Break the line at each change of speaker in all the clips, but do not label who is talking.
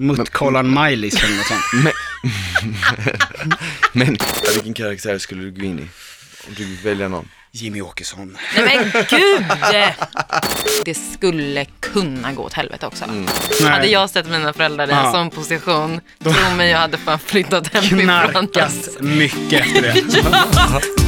Mot Colin Miley eller något sånt.
Men, men vilken karaktär skulle du gå in i? Om du fick välja någon?
Jimmy Åkesson.
Nej men gud! Det skulle kunna gå åt helvete också.
Mm.
Hade jag sett mina föräldrar i en
Ja.
sån position, tro mig jag hade fan flyttat hemifrån.
Knarkat mycket efter det.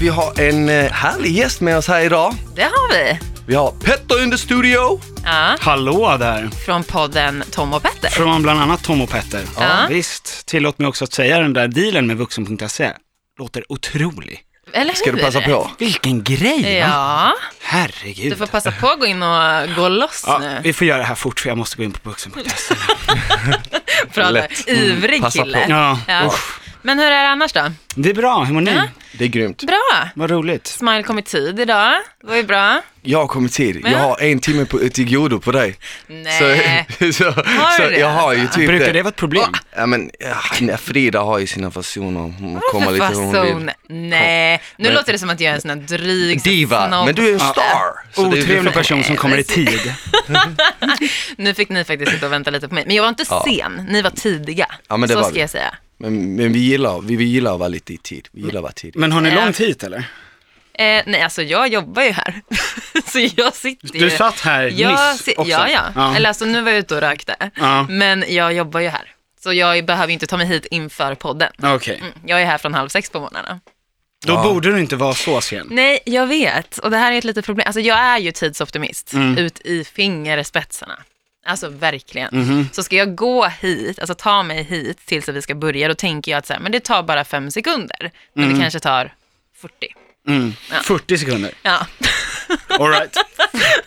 Vi har en eh, härlig gäst med oss här idag.
Det har vi.
Vi har Petter in the studio.
Ja,
Hallå där.
från podden Tom och Petter.
Från bland annat Tom och Petter.
Ja.
Visst, tillåt mig också att säga den där dealen med vuxen.se. Låter otrolig.
Eller hur?
Ska du passa på?
Vilken grej! va?
Ja,
Herregud.
du får passa på att gå in och gå loss
ja,
nu.
vi får göra det här fort för jag måste gå in på vuxen.se.
Pratar
lätt. Mm,
ivrig
Passa
kille.
på.
Ja,
Usch. Men hur är det annars då?
Det är bra, hur mår ni?
Ja.
Det är grymt.
Bra.
Vad roligt.
Smile kom i tid idag. Det var ju bra.
Jag har kommit tid.
Men-
Jag har en timme på, eh, till godo på dig.
Nej.
Så, så,
du
så
det,
jag har ju
alltså?
typ
Brukar det vara ett problem?
Ja men, ja, nej, Frida har ju sina fasoner. Hon kommer
Varför
lite hur hon vill.
fason? Nej, nu låter det som att jag är en sån här dryg sån
Diva,
snobb.
men du är en star. så det är-
Otrevlig person som kommer i tid.
Nu fick ni faktiskt sitta och vänta lite på mig. Men jag var inte sen, ni var tidiga.
Ja, men det
så
var
ska
vi.
jag säga.
Men, men vi, gillar, vi, vi gillar att vara lite i tid. Vi gillar att vara tidiga.
Men har ni
Ja.
långt hit eller?
Eh, nej, alltså jag jobbar ju här. så jag sitter ju...
Du satt här
jag
nyss
si-
också.
Ja, ja,
Ja.
Eller alltså nu var jag ute och rökte.
Ja.
Men jag jobbar ju här. Så jag behöver ju inte ta mig hit inför podden.
Okej,
Mm, Jag är här från halv sex på morgnarna.
då borde du inte vara så sen.
Nej, jag vet. Och det här är ett litet problem. Alltså jag är ju tidsoptimist
Mm.
ut i fingerspetsarna. Alltså verkligen.
Mhm.
Så ska jag gå hit, alltså ta mig hit tills att vi ska börja, då tänker jag att så här, men det tar bara fem sekunder. Men
Mm.
det kanske tar 40.
Mm. 40 sekunder.
Ja,
All right.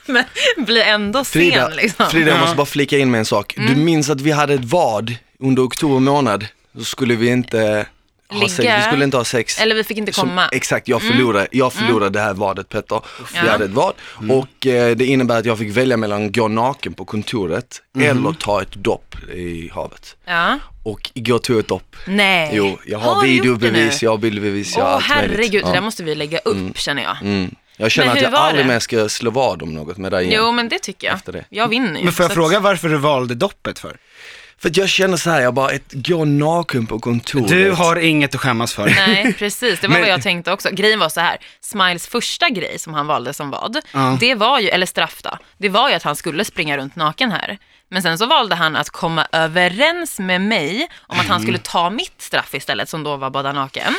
men blir ändå
Frida,
sen liksom. Mm.
Frida jag
Ja.
måste bara flika in med en sak. Du minns att vi hade ett vad under oktober månad, så skulle vi inte ha
Ligga.
sex. Vi skulle inte ha sex.
Eller vi fick inte
Som-
komma. Mm.
Exakt, jag förlorade, jag förlorade det här vadet Petter. Vi
Ja.
hade ett vad och eh, det innebär att jag fick välja mellan att gå naken på kontoret eller ta ett dopp i havet.
ja.
Och igår tog jag ett dopp.
Nej.
Jo, jag har,
du gjort det
videobevis,
nu?
jag har bildbevis, jag har
Åh
allt möjligt.
herregud, det där
Ja.
måste vi lägga upp känner jag.
Mm. Jag känner
Men
att
hur
jag
var
aldrig
det?
mer ska slå vad om något med dig igen.
Jo men det tycker jag.
Efter det.
Jag vinner ju.
Men får jag
så att-
fråga varför du valde doppet för?
För att jag känner så här, jag bara, ett, gå naken på kontoret.
Du har inget att skämmas för.
Nej, precis. Det var vad jag tänkte också. Grejen var så här, Smiles första grej som han valde som vad,
Ja.
det var ju, eller straff då, det var ju att han skulle springa runt naken här. Men sen så valde han att komma överens med mig om att han skulle ta mitt straff istället, som då var bada naken.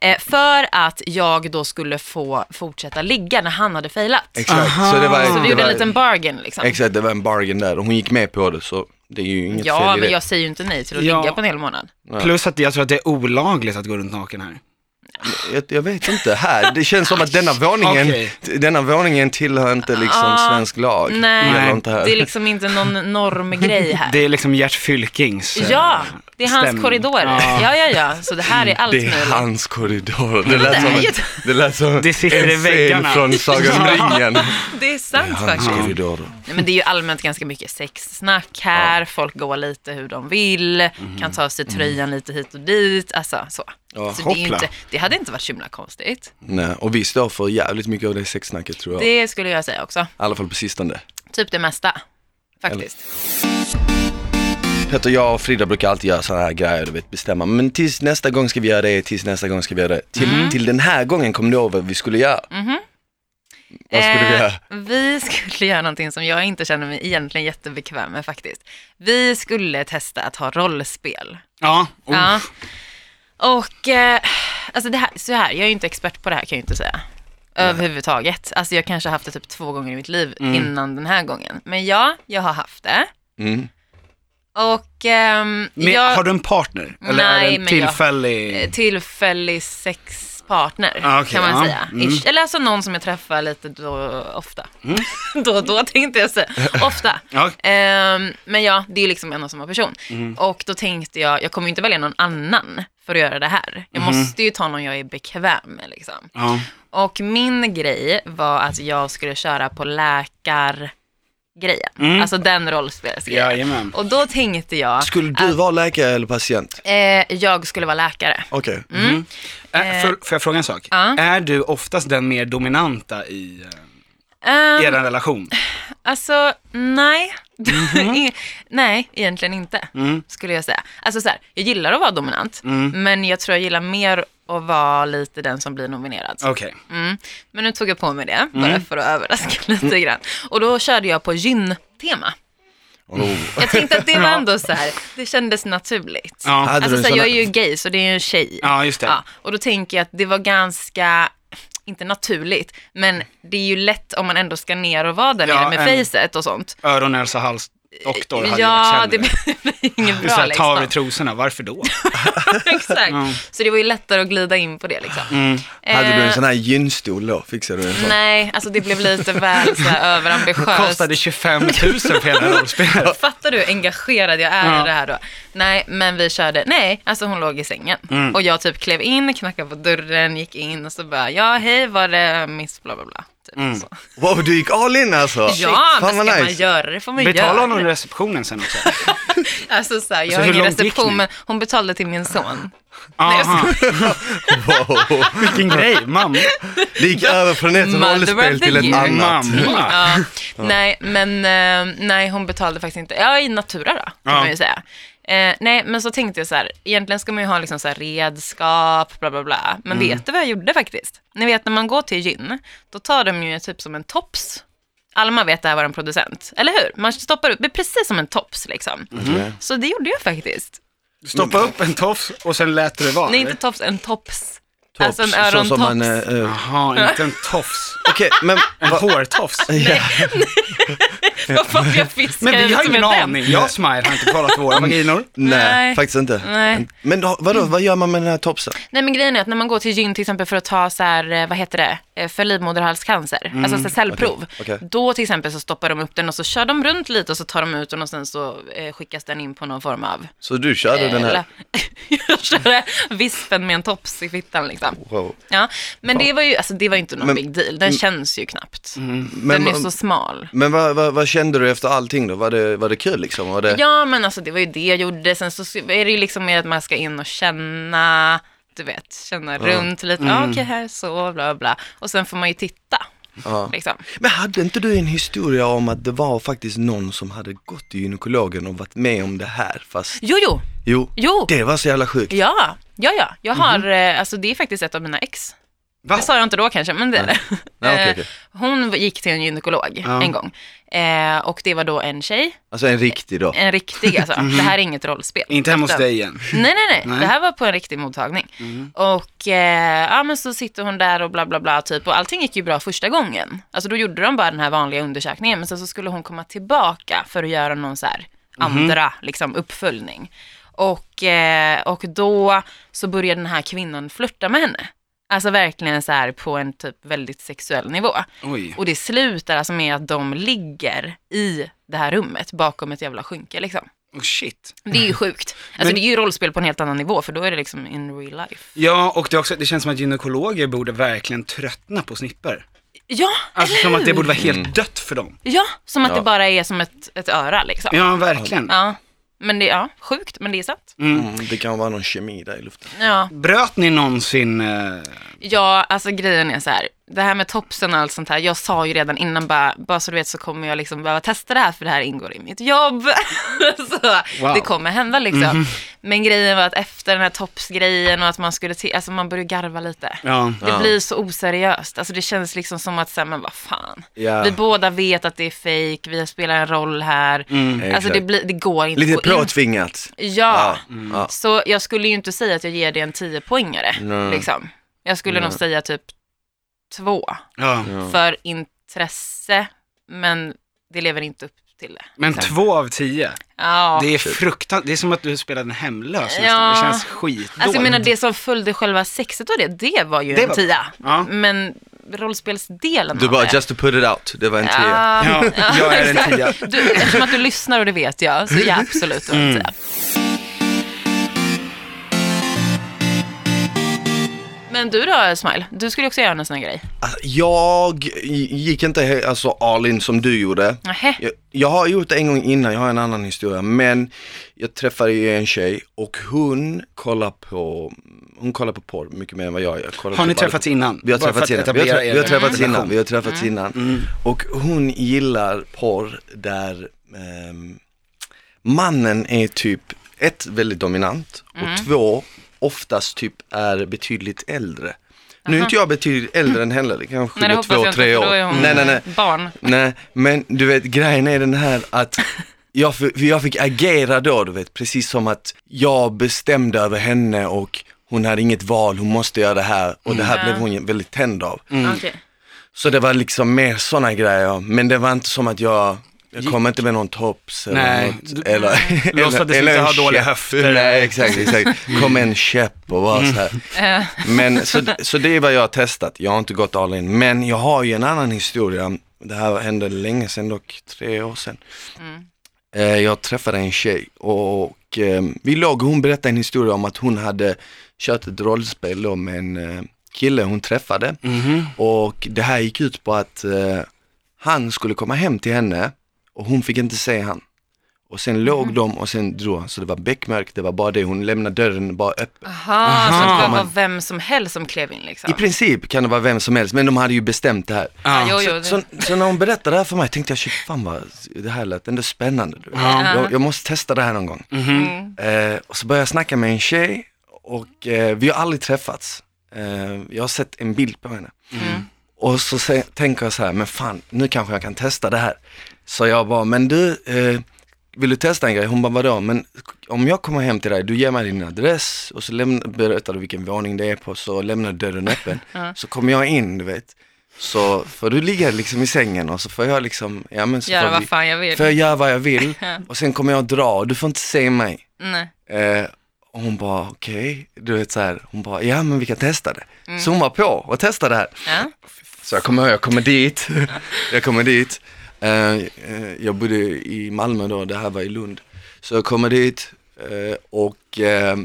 Eh, för att jag då skulle få fortsätta ligga när han hade failat.
Exakt,
Aha.
så det var,
Så vi
det
gjorde
var,
en liten bargain liksom.
Exakt, det var en bargain där och hon gick med på det så det är ju inget
Ja,
fel i
men
det.
jag säger ju inte nej till att
Ja.
ligga på en hel månad.
Plus att jag tror att det är olagligt att gå runt naken här.
Jag, jag vet inte, här, det känns som att denna våningen,
Okej.
denna våningen tillhör inte liksom
Ah,
svensk lag.
Nej,
Det gäller inte här.
det är liksom inte någon normgrej här.
Det är liksom Gert Fylkings. eh,
Ja, det är hans
stämning.
korridorer.
Ja.
Ja. ja, ja, Så det här är allt
Det är
möjligt.
hans korridor, det lät som,
det är ju-
en- det lät som
Det sitter i
en scen
väggarna.
från Sagan om ringen.
Det är sant
Hans
faktiskt.
korridor.
Nej, men det är ju allmänt ganska mycket sexsnack här, folk går lite hur de vill, kan ta av sig tröjan lite hit och dit, alltså så.
Ja,
så det, är ju
hoppla.
inte, det hade inte varit så himla konstigt.
Nej, och vi står för jävligt mycket av det sexsnacket tror jag. I
Det skulle jag säga också.
alla fall på sistone.
Typ det mesta, faktiskt.
Petter, jag och Frida brukar alltid göra sådana här grejer, du vet bestämma. Men tills nästa gång ska vi göra det, tills nästa gång ska vi göra det. Till,
Mhm.
till den här gången kom du ihåg vad vi skulle göra? Vad skulle
Eh,
vi göra?
vi skulle göra någonting som jag inte känner mig egentligen jättebekväm med faktiskt. Vi skulle testa att ha rollspel.
Ja, oh.
Ja. Och, eh, alltså det här, så här, jag är ju inte expert på det här kan jag ju inte säga. Överhuvudtaget. Alltså jag kanske har haft det typ två gånger i mitt liv
Mm.
innan den här gången. Men ja, jag har haft det.
Mm.
Och ehm,
Men,
jag,
Har du en partner? Eller
Nej,
är det en
men jag-
tillfällig?
eh, tillfällig sexpartner
Ah, okej,
kan man
ja.
säga.
Mm.
Ish. Eller alltså någon som jag träffar lite då, ofta. då och då tänkte jag säga. Ofta.
Ja. Mm.
Ehm, men ja, det är ju liksom en och samma person. Och då tänkte jag, jag kommer ju inte välja någon annan för att göra det här. Jag
Mm.
måste ju ta någon jag är bekväm med liksom.
Ja.
Och min grej var att jag skulle köra på läkargrejen grejen.
Mm.
Alltså den rollspelsgrejen.
Jajamän.
Och då tänkte jag,
Skulle du vara läkare eller patient?
eh, jag skulle vara läkare.
Okej.
Mm.
Äh, för, får jag fråga en sak?
Eh, Ja.
Är du oftast den mer dominanta i eh,
Ehm,
er relation?
Alltså, nej.
Mhm.
Ingen- nej, egentligen inte,
Mm.
skulle jag säga. Alltså så här, jag gillar att vara dominant, men jag tror jag gillar mer att vara lite den som blir nominerad.
Okej.
Mm. Men nu tog jag på mig det,
Mm.
bara för att överraska lite grann. Och då körde jag på gyn-tema.
Oh.
Jag tänkte att det var ändå så här, det kändes naturligt.
Ja.
Hade du
Alltså
en
så här,
sån-
jag är ju gay, så det är ju en tjej.
ja, just det.
Ja, och då tänker jag att det var ganska, inte naturligt, men det är ju lätt om man ändå ska ner och vara där
Ja,
nere med
en-
fejset och sånt.
Öron, näsa, hals, doktor hade
ja,
ju varit
det
sämre.
blir
Det är
inget
så
bra
här, ta av dig
liksom.
trosorna, varför då?
Exakt. Så det var ju lättare att glida in på det liksom.
Mm.
Hade du en
Eh,
sån här gynstol då? Fixade du en sån?
Nej, alltså det blev lite väl så här överambitiöst.
Kostade 25 000 för hela rollspelet.
Fattar du hur engagerad jag är
Ja.
i det här då? Nej, men vi körde, nej, alltså hon låg i sängen.
Mm.
Och jag typ klev in, knackade på dörren, gick in och så bara, ja hej var det miss bla bla bla. Typ
Mm.
så.
Wow, du gick all in alltså?
Ja, men
Fan
ska
vad
man
nice.
göra det får man
Betala
göra.
honom i receptionen sen också.
Alltså så här, jag
Så
har
hur
ingen
långt gick ni?
reception, men hon betalade till min son.
Aha, vilken grej, mamma.
Det gick över från ett
Mother of
rollspel
the
till ett
year.
annat.
Mamma.
Ja, nej, men eh, nej, hon betalade faktiskt inte. Ja, i natura då, kan
Ja.
man ju säga. Eh, nej, men så tänkte jag så här, egentligen ska man ju ha liksom så här redskap, bla bla bla. Men vet du vad jag gjorde faktiskt? Ni vet när man går till gyn, då tar de ju typ som en tops. Alma vet det här var en producent, eller hur? Man stoppar upp, det är precis som en tops liksom.
Okej.
Så det gjorde jag faktiskt.
Stoppa upp en tofs och sen lät du det vara.
Nej,
eller?
inte tops, en tops.
Tops,
Alltså en
så som
örontops.
man, eh, eh,
Jaha, inte en tofs.
Okej, men
En hårtofs.
Vad fan, jag fiskar
Men vi
ut
har ingen
med den.
aning. Jag och Smile har inte kollat våra
Mm.
vaginor.
nej,
Nej.
faktiskt inte.
Nej.
Men då- vadå, vad gör man med den här topsen?
Nej men grejen är att när man går till gyn till exempel för att ta så här, eh, vad heter det, Eh, för livmoderhalscancer, alltså så här cellprov,
Mm. okej, okej.
då till exempel så stoppar de upp den och så kör de runt lite och så tar de ut den och sen så eh, skickas den in på någon form av... eh,
Så du körde den här?
Eller, jag körde vispen med en tops i fittan liksom.
Wow.
Ja, men det var ju, alltså det var ju inte någon
Men- Mm.
big deal, den känns ju knappt.
Men,
den är så smal.
men vad, vad, vad kände du efter allting då? Var det, var det kul liksom? Var det,
Ja men alltså det var ju det jag gjorde, sen så är det ju liksom mer att man ska in och känna, du vet, känna runt lite, ah,
Mm.
okej här så, bla bla, och sen får man ju titta.
Ja.
Liksom.
Men hade inte du en historia om att det var faktiskt någon som hade gått till gynekologen och varit med om det här fast,
Jo, jo,
jo,
jo,
det var så jävla sjukt.
ja, ja, ja, jag har, eh, alltså det är faktiskt ett av mina ex.
Mhm. Va?
Det sa jag inte då kanske, men det är det.
Nej, okej,
Eh,
okej.
Hon gick till en gynekolog
Ja.
en gång eh, och det var då en tjej,
Alltså en riktig då.
en riktig alltså, det här är inget rollspel.
Mhm. Inte hemma hos dig igen.
Nej, nej, nej,
Nej.
Det här var på en riktig mottagning. Och eh, ja, men så sitter hon där och bla bla bla typ. Och allting gick ju bra första gången. Alltså då gjorde de bara den här vanliga undersökningen. Men sen så skulle hon komma tillbaka för att göra någon så här andra liksom, uppföljning. Och, eh, och då så började den här kvinnan flirta med henne. Alltså verkligen så här på en typ väldigt sexuell nivå.
Oj.
Och det slutar alltså med att de ligger i det här rummet bakom ett jävla skynke liksom.
Oh, shit.
Det är ju sjukt. Alltså
Men-
det är ju rollspel på en helt annan nivå för då är det liksom in real life.
Ja, och det, är också, det känns som att gynekologer borde verkligen tröttna på snipper.
Ja,
Alltså
eller
som att det
hur?
borde vara helt dött för dem.
Ja, som att
Ja.
det bara är som ett, ett öra liksom. Ja.
Ja, verkligen.
Men det, ja, sjukt, men det är sant.
Mm, det kan vara någon kemi där i luften.
Ja,
Bröt ni någonsin... Eh...
ja alltså grejen är så här, det här med topsen och allt sånt här, jag sa ju redan innan bara, bara så du vet så kommer jag liksom behöva testa det här för det här ingår i mitt jobb. så
Wow. Mhm.
det kommer hända liksom. Men grejen var att efter den här topsgrejen och att man skulle, till, alltså man började garva lite.
Ja.
Det blir så oseriöst. Alltså det känns liksom som att, så här, men vad fan.
Ja.
Vi båda vet att det är fake, vi spelar en roll här.
Mm,
Alltså det, Mm.
Exakt.
blir, det går inte
Lite
att gå in.
påtvingat.
Ja.
Ja.
Så jag skulle ju inte säga att jag ger det en 10-poängare.
Nej.
Liksom. Jag skulle nog säga typ två.
ja.
Mm.
För intresse, men det lever inte upp till det.
Men två av tio.
Ja.
Det är fruktansvärt. Det är som att du spelade en hemlös nästan.
Ja.
Det känns skitdåligt.
Alltså jag menar det som följde själva sexet och det, det var ju
Det
en
var-
tia.
Ja.
Men rollspelsdelen
Du
av
bara,
det-
just to put it out, det var en tia.
Ja,
Ja, jag är en tia.
Du, eftersom att du lyssnar och det vet jag, så ja absolut du mm. Men Men du då Smile, du skulle ju också göra en sån här grej.
Alltså, jag gick inte he- alltså, all in som du gjorde.
Nähä.
Jag, jag har gjort det en gång innan, jag har en annan historia. Men jag träffade ju en tjej och hon kollar på, hon kollar på porr mycket mer än vad jag gör. Kollar
Har ni
på ballet.
träffats innan?
Vi har
Bara för
träffats
att
innan. Vi
etablera
har, trä- vi har
er
träffats
relation.
Mm.
innan. Vi har träffats innan. Och hon gillar porr där ehm, mannen är typ ett, väldigt dominant
Mm.
och två, oftast typ är betydligt äldre. Nu är inte jag betydligt äldre än heller, kanske
Nej, det
med
hoppas
två,
jag
tre
inte,
år.
för då är hon
Nej, nej, nej.
barn.
Nej, men du vet grejen är den här att jag, f- jag fick agera då, du vet, precis som att jag bestämde över henne och hon hade inget val, hon måste göra det här och det här
Mm.
Ja.
blev hon väldigt tänd av.
Okej.
Så det var liksom mer sådana grejer, men det var inte som att jag jag kom inte med någon tops eller
Nej,
något.
du-
Eller,
Låtsades inte
en
ha dåliga
käpp.
höfter. Mm.
Nej, exakt, exakt. Kom med en käpp och bara så här.
Eh,
Men så, så det är vad jag har testat, jag har inte gått all in. Men jag har ju en annan historia, det här hände länge sedan dock, tre år sedan. Eh, Jag träffade en tjej och eh, vi låg och hon berättade en historia om att hon hade kört ett rollspel då med en eh, kille hon träffade.
Mm-hmm.
Och det här gick ut på att eh, han skulle komma hem till henne och hon fick inte se han. Och sen låg de och sen drog han, så det var beckmörkt, det var bara det, hon lämnade dörren bara öppen.
Aha, så det
Aha.
kunde vara vem som helst som klev in liksom.
I princip kan det vara vem som helst, men de hade ju bestämt det här.
Ja.
Ja, jo, jo, det-
Så, så när hon berättade det här för mig tänkte jag, shit fan vad det här lät ändå spännande. Du. vet.
Ja.
Jag, jag måste testa det här någon gång.
Mm-hmm.
Mm.
Eh, och så började jag snacka med en tjej och eh, vi har aldrig träffats. Eh, jag har sett en bild på henne.
Mm.
Och så se, tänker jag så här, men fan nu kanske jag kan testa det här. Så jag bara, men du, eh, vill du testa en grej? Hon bara, vadå? Men om jag kommer hem till dig, du ger mig din adress och så lämna, berättar du vilken våning det är på, så lämnar du dörren öppen. Så kommer jag in, du vet. Så får du ligga liksom i sängen och så får jag liksom, ja men så
Göra
får, vi,
vad fan jag vill.
får jag göra vad jag vill och sen kommer jag dra och du får inte se mig.
Nej.
Eh, och hon bara okej, du vet så här, hon bara ja men vi kan testa det. Så hon var på och testade det här.
Ja.
Så jag kommer ihåg, jag kommer dit, jag kommer dit. Eh, eh, jag bodde i Malmö då, det här var i Lund. Så jag kommer dit eh, och eh,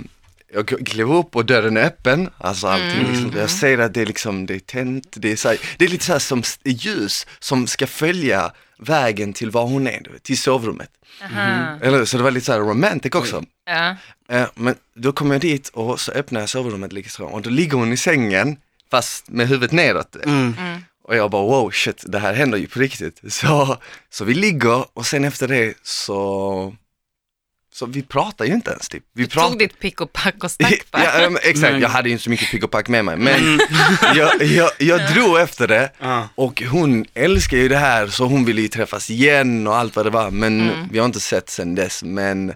jag k- klev upp och dörren är öppen, alltså allting liksom. Jag ser att det är liksom, det är tänt, det är, så här, det är lite så här som s- ljus som ska följa vägen till var hon är, du vet, till sovrummet.
Aha.
Eller hur? så det var lite så här romantic också.
Ja.
Eh, Men då kom jag dit och så öppnade jag sovrummet liksom, och då ligger hon i sängen fast med huvudet nedåt.
Mm.
Och jag bara wow shit, det här händer ju på riktigt. Så, så vi ligger och sen efter det så, så vi pratar ju inte ens typ. Vi
Du tog ditt pick och pack och stack bara.
ja, eh, exakt,
Nej.
jag hade ju inte så mycket pick och pack med mig men jag, jag, jag drog efter det
Ja.
och hon älskar ju det här så hon ville ju träffas igen och allt vad det var men
Mm.
vi har inte sett sen dess men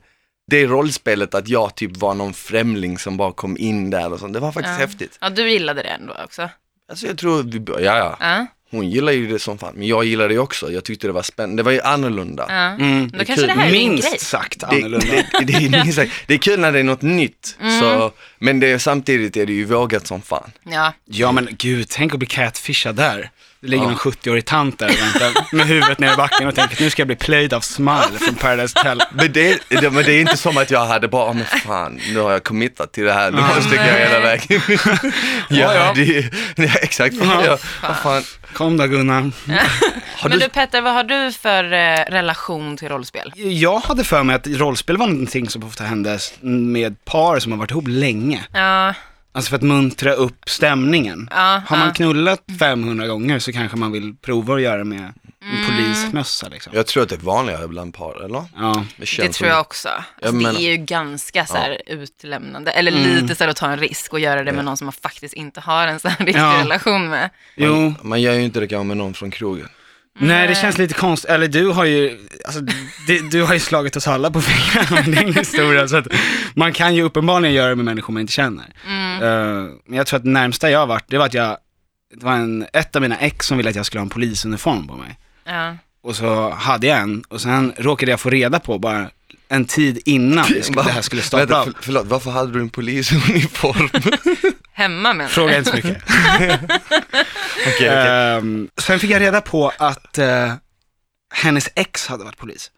det rollspelet att jag typ var någon främling som bara kom in där och sånt, det var faktiskt
Ja.
häftigt.
Ja, du gillade det ändå också.
Alltså jag tror, vi, bör- ja ja,
Ja.
hon gillar ju det som fan men jag gillar det också, jag tyckte det var spännande, det var ju annorlunda.
Ja.
Mm.
Då kanske det här är din grej.
Minst sagt
Det,
annorlunda.
det, det, är minst sagt- det är kul när det är något nytt,
Mm.
så, men det, är- samtidigt är det ju vågat som fan.
Ja.
Ja men gud, tänk att bli catfishad där. Det ligger någon 70-årig tant där och väntar med huvudet ner i backen och tänker att nu ska jag bli plöjd av smile från Paradise Hotel.
Men det, det, men det är inte som att jag hade bara, "Ah, men fan, nu har jag committat till det här, nu måste jag gå
Nej.
hela vägen. ja,
ja.
Det, ja, exakt. Ja, vad fan.
Kom då Gunnar.
Har
Men
du,
du Petter, vad har du för eh, relation till rollspel?
Jag hade för mig att rollspel var någonting som ofta hände med par som har varit ihop länge.
Ja,
Alltså för att muntra upp stämningen.
ja,
Har man
ja.
knullat 500 gånger så kanske man vill prova att göra med en
Mm.
polismössa liksom.
jag tror att det är vanligare bland par, eller?
Ja.
Det
känns
tror
som-
jag också. Alltså,
men-
det är ju ganska så här, utlämnande, eller
Mm.
lite så här, att ta en risk och göra det med någon som man faktiskt inte har en så här riktig
Ja.
relation med. Mm.
Jo,
Mm. Man gör ju inte det kanske med någon från krogen.
nej det känns lite konstigt, eller du har ju, alltså, det, du har ju slagit oss alla på fingrarna med din historia. Så att man kan ju uppenbarligen göra det med människor man inte känner.
Mm.
Eh, men jag tror att det närmsta jag har varit, det var att jag, det var en, ett av mina ex som ville att jag skulle ha en polisuniform på mig.
Ja.
och så hade jag en och sen råkade jag få reda på bara en tid innan vi skulle, det här skulle starta
Vänta,
av.
för, förlåt, varför hade du en polisuniform? Okej,
Hemma menar du?
Fråga inte så mycket.
okej.
Ehm, sen fick jag reda på att eh, hennes ex hade varit polis.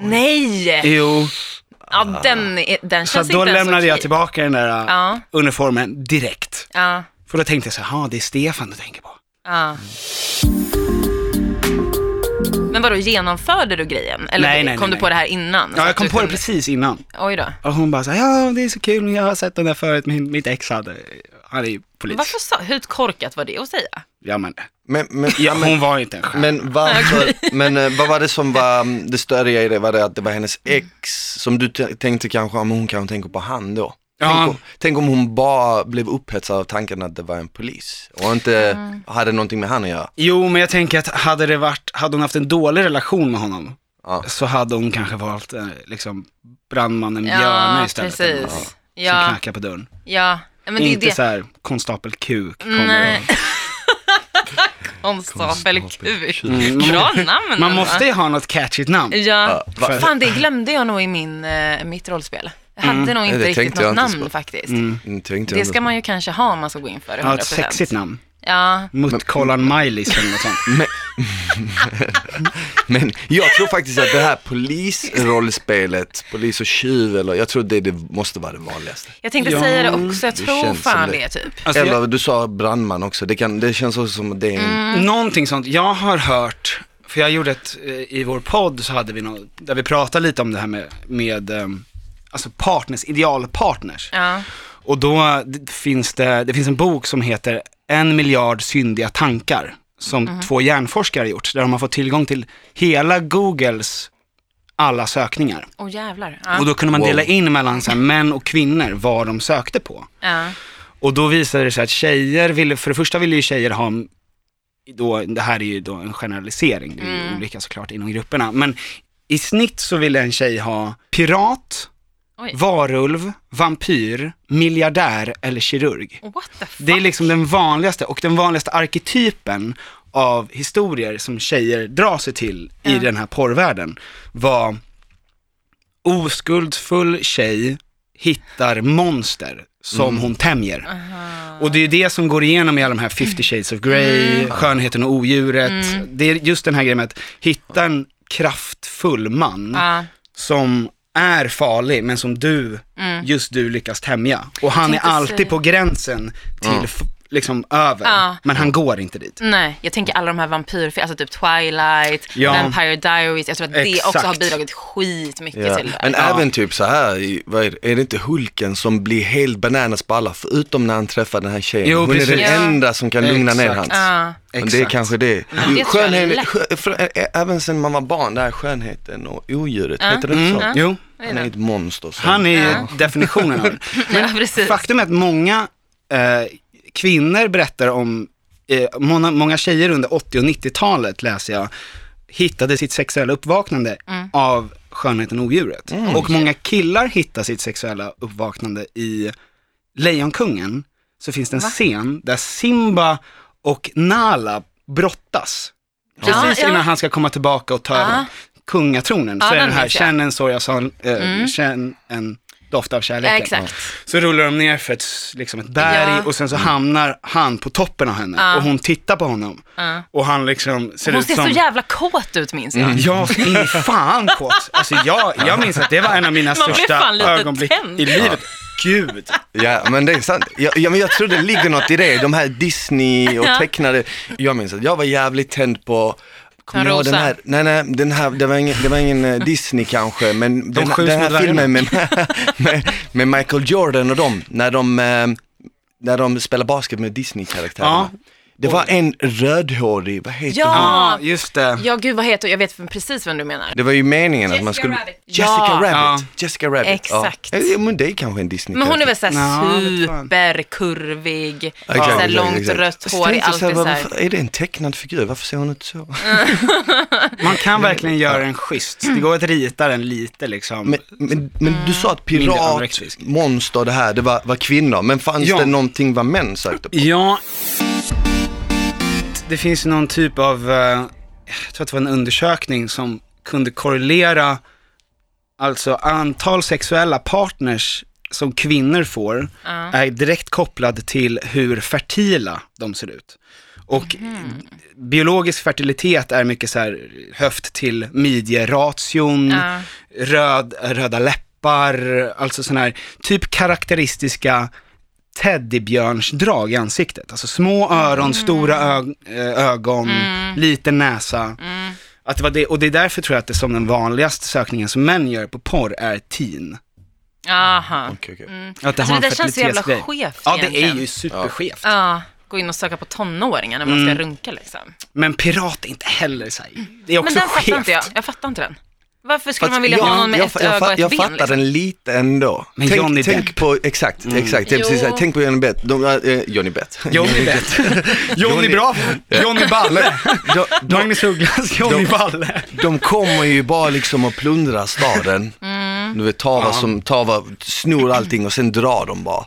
Nej!
Jo,
Ja, den, är- den
så
känns
då
inte ens
lämnade jag
okej.
tillbaka den där eh,
typ- Ja,
uniformen direkt.
ja.
För För då tänkte jag så här, "Ha, det är Stefan du tänker på.
Ja. Men vadå, genomförde du grejen? Eller
Nej, nej,
kom
nej,
du på
nej.
det här innan? Så
Ja, jag
att
kom
du
på det
kunde-
precis innan.
Oj då.
Och hon bara så här, ja det är så kul, men jag har sett den där förut, min, mitt ex hade, han är ju polis.
Varför sa, hur korkat var det att säga?
Ja men,
Men, men,
ja, hon var ju inte en stjärna.
men varför, men eh, vad var det som var mm, det störiga i det? Var det att det var hennes ex som du t- tänkte kanske, om hon kanske tänker på han då?
Ja.
Tänk, om, tänk om hon bara blev upphetsad av tanken att det var en polis och inte hade någonting med han att göra.
Jo, men jag tänker att hade, det varit, hade hon haft en dålig relation med honom,
Ja.
så hade hon kanske valt eh, liksom, brandmannen
Ja,
Björne istället. eller något,
precis.
Som
Ja,
knackar på dörren.
ja. ja. Men det är
Inte
det.
så här, konstapel Q kommer
Nej.
och-
Konstapel Q.
Mm, man-
Bra namn.
Man
ändå.
måste ju ha något catchigt namn.
Ja.
Ja, va-
Fan, det glömde jag nog i min, eh, mitt rollspel. Jag hade
Mm.
nog inte
det
riktigt
tänkte jag
något
inte
namn
på.
faktiskt.
Mm, tänkte jag
Det
ändå.
ska man ju kanske ha om man ska gå in för det.
Ja, ett
100%.
sexigt namn.
Ja,
Muttkollan Maj-Lis eller något sånt.
Mm.
Men jag tror faktiskt att det här polisrollspelet, polis och tjuv eller, jag tror det, det måste vara det vanligaste.
jag tänkte
Ja,
säga det också. Jag
det
tror
känns som
fan
det.
det, typ.
Alltså,
eller
jag-
du sa brandman också, det, kan, det känns också som att det är en,
Mm. Någonting sånt. Jag har hört, för jag gjorde ett, eh, i vår podd så hade vi något, där vi pratade lite om det här med, med ehm, alltså partners, idealpartners.
Ja.
Och då d- finns det, det finns en bok som heter En miljard syndiga tankar, som
Mhm.
två hjärnforskare har gjort, där de har fått tillgång till hela Googles alla sökningar.
Åh jävlar. Ja.
Och då kunde man
Wow.
dela in mellan så här, män och kvinnor vad de sökte på.
ja.
Och då visade det sig att tjejer ville, för det första ville ju tjejer ha, då, det här är ju då en generalisering, det är ju
Mm.
olika såklart inom grupperna, men i snitt så ville en tjej ha pirat,
Oj.
varulv, vampyr, miljardär eller kirurg.
What the fuck?
Det är liksom den vanligaste och den vanligaste arketypen av historier som tjejer drar sig till i den här porrvärlden var oskuldsfull tjej hittar monster som hon tämjer. Och det är det som går igenom i alla de här 50 shades of Grey, Skönheten och odjuret. Det är just den här grejen med att hitta en kraftfull man
Ja.
som är farlig men som du, just du lyckas tämja. Och han är
Mm. Tänkte
alltid
säga-
på gränsen till f- liksom över,
Ja.
men han går inte dit.
Nej, jag tänker alla de här vampyrfilmerna, alltså typ Twilight,
Ja.
Vampire Diaries. Jag tror att det också har
Exakt.
bidragit skitmycket
ja.
till det.
Men
Ja.
även typ så här, i- vad är, det, är det inte Hulken som blir helt bananas på alla, förutom när han träffar den här tjejen.
Jo,
Hon
precis.
är den
Ja.
enda som kan lugna ner
Exakt.
hans.
Ja.
Men det är kanske det.
tror jag
Skönhet,
lätt.
skö- för, ä- ä- även sen man var barn, det här skönheten och odjuret, heter det
Mm.
inte så?
Jo,
Han är ett monster. som-
Alltså, han är ju definitionen av det.
Ja, precis.
Faktum är att många eh, kvinnor berättar om, eh, många, många tjejer under 80 och 90-talet läser jag, hittade sitt sexuella uppvaknande
Mm.
av Skönheten och odjuret. Och många killar hittar sitt sexuella uppvaknande i Lejonkungen, så finns det en scen där Simba och Nala brottas. Precis
ja.
innan han ska komma tillbaka och ta
Ja.
över kungatronen.
Ja,
så är
den
den här,
minns jag. Mm.
känn en sorg av sorg, eh, känn en doft av
Ja,
kärleken.
exakt.
Så rullar de ner för ett, liksom ett berg
Ja.
och sen så hamnar han på toppen av henne
Ja.
och hon tittar på honom. Och han liksom ser
Hon
ut
ser
som...
så jävla kåt ut minns
Mm.
jag.
Ja, så in i fan kåt. Alltså jag, jag minns att det var en av mina
Man blir
största
fan lite
ögonblick
tänd.
i livet. Gud.
Ja men det är sant. Ja, ja, men jag tror det ligger något i det, de här Disney och tecknade. Jag minns att jag var jävligt tänd på Kommer jag ihåg den
Törnrosa.
här, nej nej, den här, det var ingen, det var ingen eh, Disney kanske, men den,
skjuts
den
mot
här
vargarna.
filmen med, med, med Michael Jordan och dem, när de, eh, när de spelar basket med Disney-karaktärerna.
Ja.
Det var en rödhårig, vad heter
Ja.
hon?
Ja, just det.
Ja, gud vad heter Jag vet precis vem du menar.
Det var ju meningen att
Jessica
man skulle...
Rabbit.
Jessica
Ja.
Rabbit. Jessica Rabbit.
Exakt.
Ja. Eh, Men det är kanske en Disney
Men hon är väl såhär
Ja, det tror jag.
superkurvig,
Exakt,
såhär
exakt,
långt
exakt.
rött
Fast
hår,
det är inte
alltid Mm.
så här,
såhär.
varför- Är det en tecknad figur? Varför ser hon ut så?
Man kan verkligen göra en schysst. Det går att rita den lite liksom.
Men, men, men du sa att
Mindre
pirat,
anorexisk.
monster, det här, det var, var kvinnor. Men fanns
Ja.
det någonting vad män sökte på?
Ja, det finns ju någon typ av, eh, jag tror att det var en undersökning som kunde korrelera alltså antal sexuella partners som kvinnor får är direkt kopplad till hur fertila de ser ut. Och biologisk fertilitet är mycket så här höft till midjeration,
Ja.
röd, röda läppar, alltså sådana här typ karaktäristiska teddybjörnsdrag i ansiktet. Alltså små öron,
Mm.
stora ö- eh, ögon, liten näsa.
Mm.
Att det var det, och det är därför tror jag att det som den vanligaste sökningen som män gör på porr är teen.
Aha.
Okej, okej.
Att det
Alltså,
har
det
en
där känns så jävla
fertilitetsgrej.
skevt
Ja, det är
egentligen.
ju superskevt.
Ja, gå in och söka på tonåringar när man
Mm.
ska runka liksom.
Men pirat är inte heller så här. Det är
Mm. Men
också
den fattar
skevt.
inte jag. Jag fattar inte den. Varför skulle man
Fast
vilja
jag-
ha någon med
jag,
ett
jag,
öga och ett
jag
ben?
fattar
liksom?
den lite ändå.
Men
tänk,
Johnny Mm.
tänk på, exakt, exakt, det är
Jo.
precis, så här. tänk på Johnny Bett, de, eh, Johnny Bett.
Johnny Bett. Johnny Bra. Johnny Balle.
De, de,
Magnus Ugglas, Johnny
De-
Balle.
de kommer ju bara liksom och plundrar staden.
Mm.
Du vet, tar vad som, tar vad, snor allting och sen drar de bara.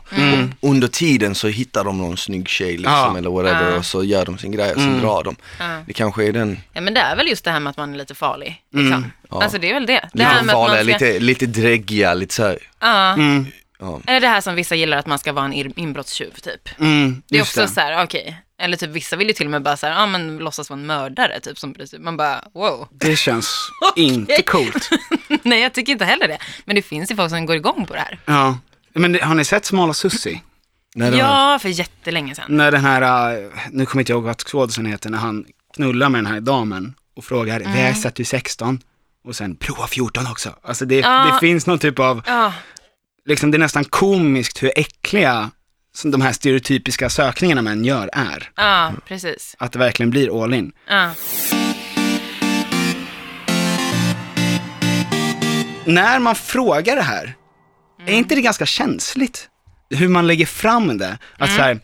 Och under tiden så hittar de någon snygg tjej liksom,
Ja.
eller whatever och så gör de sin grej och sen drar de. Det kanske är den,
Ja, men det är väl just det här med att man är lite farlig. Liksom. Alltså det är väl det. Det här
Mm. lite
med att man
farliga,
ska...
lite, lite dräggiga, lite så här.
Ja.
Ja.
Eller det här som vissa gillar, att man ska vara en ir- inbrottstjuv typ.
Mm,
Det är
just
också så här, okej. Eller typ vissa vill ju till och med bara så här, ja ah, men låtsas vara en mördare typ som bryr sig. Man bara, wow.
Det känns inte coolt.
Nej jag tycker inte heller det. Men det finns ju folk som går igång på det här.
Ja. Men har ni sett Smala Sussi?
Nej, det var-
Ja, för jättelänge sedan.
När den här, eh, nu kommer inte jag ihåg vad skådisen heter, när han knullar med den här damen och frågar,
Mm.
väs att du är 16? Och sen prova 14 också. Alltså det,
Ja.
det finns någon typ av,
Ja,
liksom det är nästan komiskt hur äckliga som de här stereotypiska sökningarna män gör är.
ja precis.
Att det verkligen blir all in.
Ja.
när man frågar det här,
Mm.
är inte det ganska känsligt? Hur man lägger fram det.
Mm.
Att så här,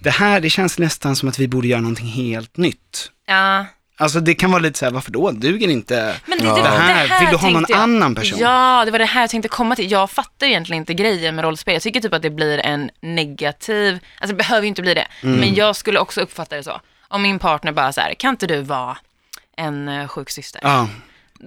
det här, det känns nästan som att vi borde göra någonting helt nytt.
ja.
Alltså det kan vara lite så här, varför då? Duger inte?
Men det, typ det,
Det här, vill du ha någon
tänkte
annan person?
Ja, det var det här jag tänkte komma till. Jag fattar egentligen inte grejen med rollspel. Jag tycker typ att det blir en negativ, alltså det behöver ju inte bli det,
Mm.
men jag skulle också uppfatta det så. Om min partner bara så här, kan inte du vara en eh, sjuk syster?
Ja,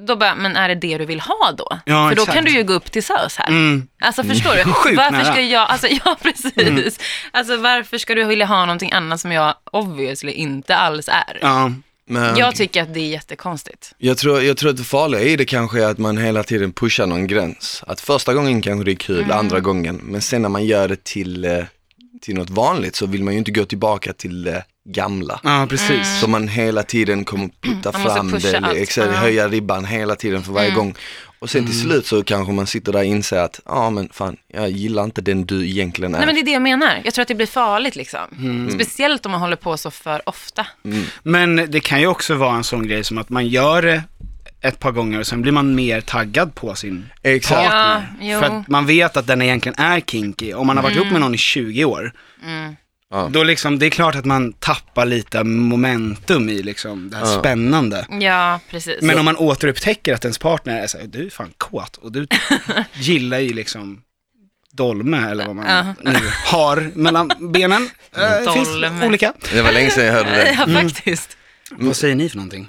Då bara, men är det det du vill ha då?
Ja,
för då
exakt. Mm.
kan du ju gå upp till SÖS här. Alltså förstår du?
Sjukt
varför
nära. Mm.
ska jag, alltså ja precis. Alltså varför ska du vilja ha någonting annat som jag obviously inte alls är?
ja,
men-
Jag tycker att det är jättekonstigt.
Jag tror, jag tror att det farliga i det kanske är att man hela tiden pushar någon gräns. Att första gången kanske det är kul,
Mm.
andra gången, men sen när man gör det till, eh, till något vanligt så vill man ju inte gå tillbaka till det gamla.
ja
Mm.
precis.
Så man hela tiden kommer putta
Man måste
fram
pusha
det,
allt.
exakt,
Ja. Mm.
höja ribban hela tiden för varje gång. Och sen till slut så kanske man sitter där och inser att, ja men fan, jag gillar inte den du egentligen är.
Nej men det är det jag menar. Jag tror att det blir farligt liksom. Speciellt om man håller på så för ofta.
Men det kan ju också vara en sån grej som att man gör det ett par gånger och sen blir man mer taggad på sin
Exakt.
partner.
Ja, jo.
Mm.
Mm.
för att man vet att den egentligen är kinky. Om man har varit ihop med någon i 20 år,
Ja.
då liksom, det är klart att man tappar lite momentum i liksom det här spännande.
Ja, precis.
Men om man återupptäcker att ens partner är så här, du är fan kåt och du gillar ju liksom dolme eller vad man nu har mellan benen. Eh, finns
Dolme.
olika.
Det var länge sedan jag hörde det.
Ja, faktiskt.
Vad säger ni för någonting?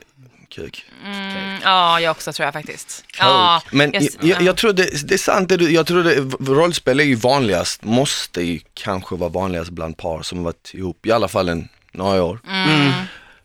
Kuk.
Mm, ja, jag också tror jag faktiskt. Ja,
Ja, men
jag,
jag, jag, jag tror det, det är sant, det, du- jag tror det, rollspel är ju vanligast, måste ju kanske vara vanligast bland par som varit ihop i alla fall en, några år.
Mm.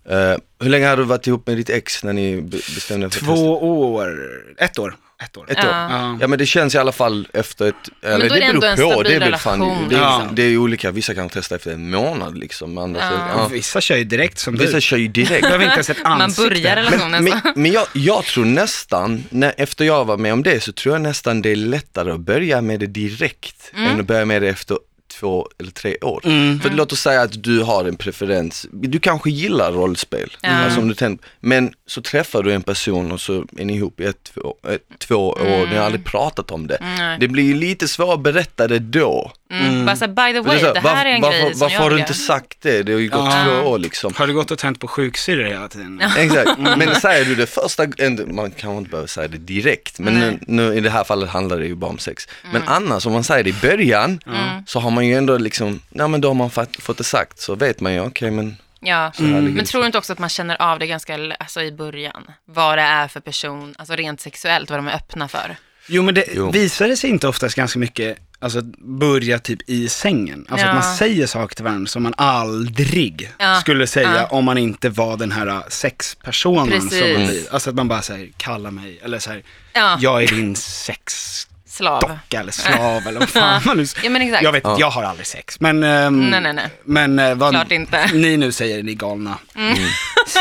Eh, hur länge har du varit ihop med ditt ex när ni be- bestämde er för att testa?
Två år, ett år. Ett år.
Ett år?
Ja.
Ja. men det känns i alla fall efter ett, eller
då är det
det
ändå en
beror på,
stabil
det är väl fan,
relation,
det är,
liksom.
det är ju olika, vissa kan testa efter en månad liksom, andra ja.
Vissa kör ju direkt som du.
vissa kör ju direkt.
Behöver inte ens ett
man
ansikte.
börjar relationen
Men,
så.
men, men jag, jag tror nästan, när, efter jag var med om det, så tror jag nästan det är lättare att börja med det direkt
Mm.
än att börja med det efter två eller tre år. För låt oss säga att du har en preferens, du kanske gillar rollspel, alltså om du tänd, men så träffar du en person och så är ni ihop i ett, två, ett, två år, ni har
Mm.
aldrig pratat om det. Det blir ju lite svårt att berätta det då.
Mm. Bara så här, by the way,
är så här,
det här
varf-
är en
varför,
grej som
varför
jag
har du
gör.
inte sagt det? Det har ju gått
Ja.
två år liksom.
Har du gått och tänt på sjuksyrror hela tiden?
Exakt, men säger du det första, ändå- man kanske inte behöver säga det direkt, men nu, nu, i det här fallet handlar det ju bara om sex.
Mm.
Men annars om man säger det i början, så har man ju ändå liksom, nej men då har man fatt, fått det sagt, så vet man ju, okej men
Ja. Mm.
här ligger det
Men tror du inte också att man känner av det ganska l- alltså, i början? Vad det är för person, alltså rent sexuellt, vad de är öppna för.
Jo men det
Jo.
visar det sig inte oftast ganska mycket, alltså att börja typ i sängen. Alltså
Ja.
att man säger saker till varandra som man aldrig
Ja.
skulle säga om man inte var den här äh, sexpersonen som man
Mm.
Precis.
blir. Alltså att man bara säger, kalla mig, eller så här,
Ja.
jag är din sex
slav.
docka eller slav eller vad fan man nu
Ja, men exakt.
Jag vet inte, jag har aldrig sex. Men, ehm,
Nej, nej, nej.
men eh, vad
Klart inte. Mm.
ni nu säger, ni galna.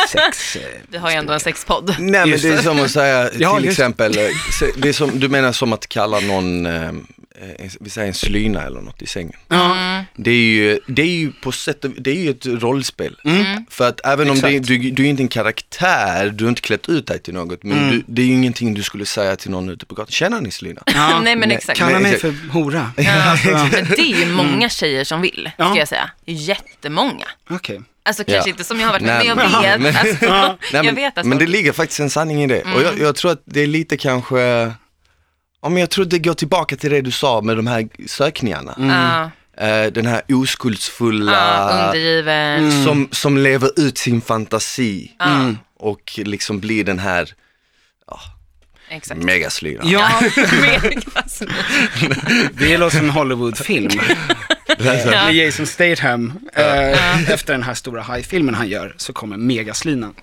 Sex. eh,
Vi har ju ändå en sexpodd.
Nej men
Just
det är
det.
som att säga
Ja,
till
just det.
exempel, eh, se- det är som, du menar som att kalla någon, eh, eh, vi säger en slyna eller något i sängen.
Mm.
Ja,
Det är ju, det är ju på sätt och- det är ju ett rollspel.
Mm.
För att även om det,
Mm. Exakt.
du, du är inte en karaktär, du har inte klätt ut dig till något, men
Mm.
du, det är ju ingenting du skulle säga till någon ute på gatan. Tjena ni slyna.
ja.
nej, men
nej,
exakt.
Kalla
Men-
mig för hora. Alltså,
Men det är ju
Mm.
många tjejer som vill,
Ja.
ska jag säga. Jättemånga.
Okej.
Alltså kanske
Ja.
inte som jag har varit med
Nej,
men jag vet.
men-
alltså,
Nej,
jag
men,
vet alltså. Mm. att
men det
folk-
ligger faktiskt en sanning i det. Och jag, jag tror att det är lite kanske, ja men jag tror det går tillbaka till det du sa med de här sökningarna.
Mm.
Ja,
Eh, den här oskuldsfulla,
ja, undergiven.
som, som lever ut sin fantasi
Ah. Mm.
och liksom blir den här
Exakt.
megaslyran.
Ja,
Mer klass.
det låter som en Hollywoodfilm. Med Jason Statham, eh, efter den här stora hajfilmen han gör, så kommer megaslinan.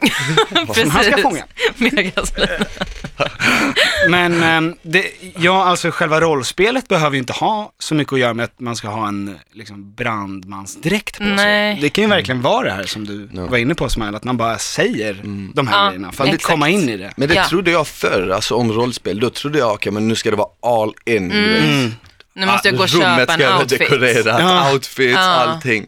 Precis.
han ska fånga.
Megaslina.
Men ehm, det, ja, alltså själva rollspelet behöver ju inte ha så mycket att göra med att man ska ha en liksom, brandmansdräkt på
Nej.
sig. Det kan ju verkligen vara det här som du var inne på Smile, att man bara säger de här
Ja,
grejerna för att
exakt.
komma in i det.
Men det
Ja.
trodde jag förr, alltså om rollspel, då trodde jag, okej men nu ska det vara all in. du vet.
Mm.
Ah,
Nu måste jag gå och
rummet
köpa
ska
en
vara
outfit.
dekorerat,
Ja.
outfits, allting.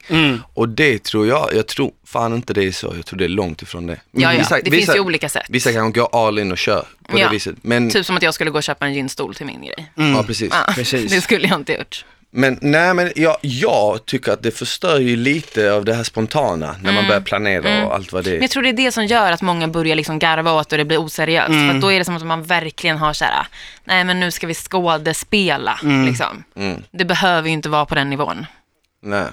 Och det tror jag, jag tror fan inte det är så, jag tror det är långt ifrån det.
Ja, ja. Det finns ju olika sätt.
Vissa kanske går all in och kör på
Ja.
det viset. Men,
Typ som att jag skulle gå och köpa en ginstol till min grej.
ja Mm. precis.
Ja,
Precis.
Det skulle jag inte gjort.
Men nej men jag, jag tycker att det förstör ju lite av det här spontana när man börjar planera och allt vad det
Mm. Men
är.
jag tror det är det som gör att många börjar liksom garva åt och det blir oseriöst. För att då är det som att man verkligen har så här, nej men nu ska vi skådespela. Liksom. Det behöver ju inte vara på den nivån,
Nej.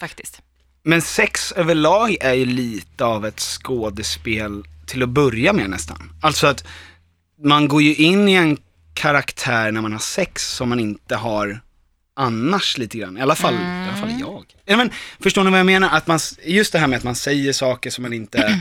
faktiskt.
Men sex överlag är ju lite av ett skådespel till att börja med nästan. Alltså att man går ju in i en karaktär när man har sex som man inte har annars lite grann. I alla fall, i alla fall jag. Ja, men, förstår ni vad jag menar? Att man, s- just det här med att man säger saker som man inte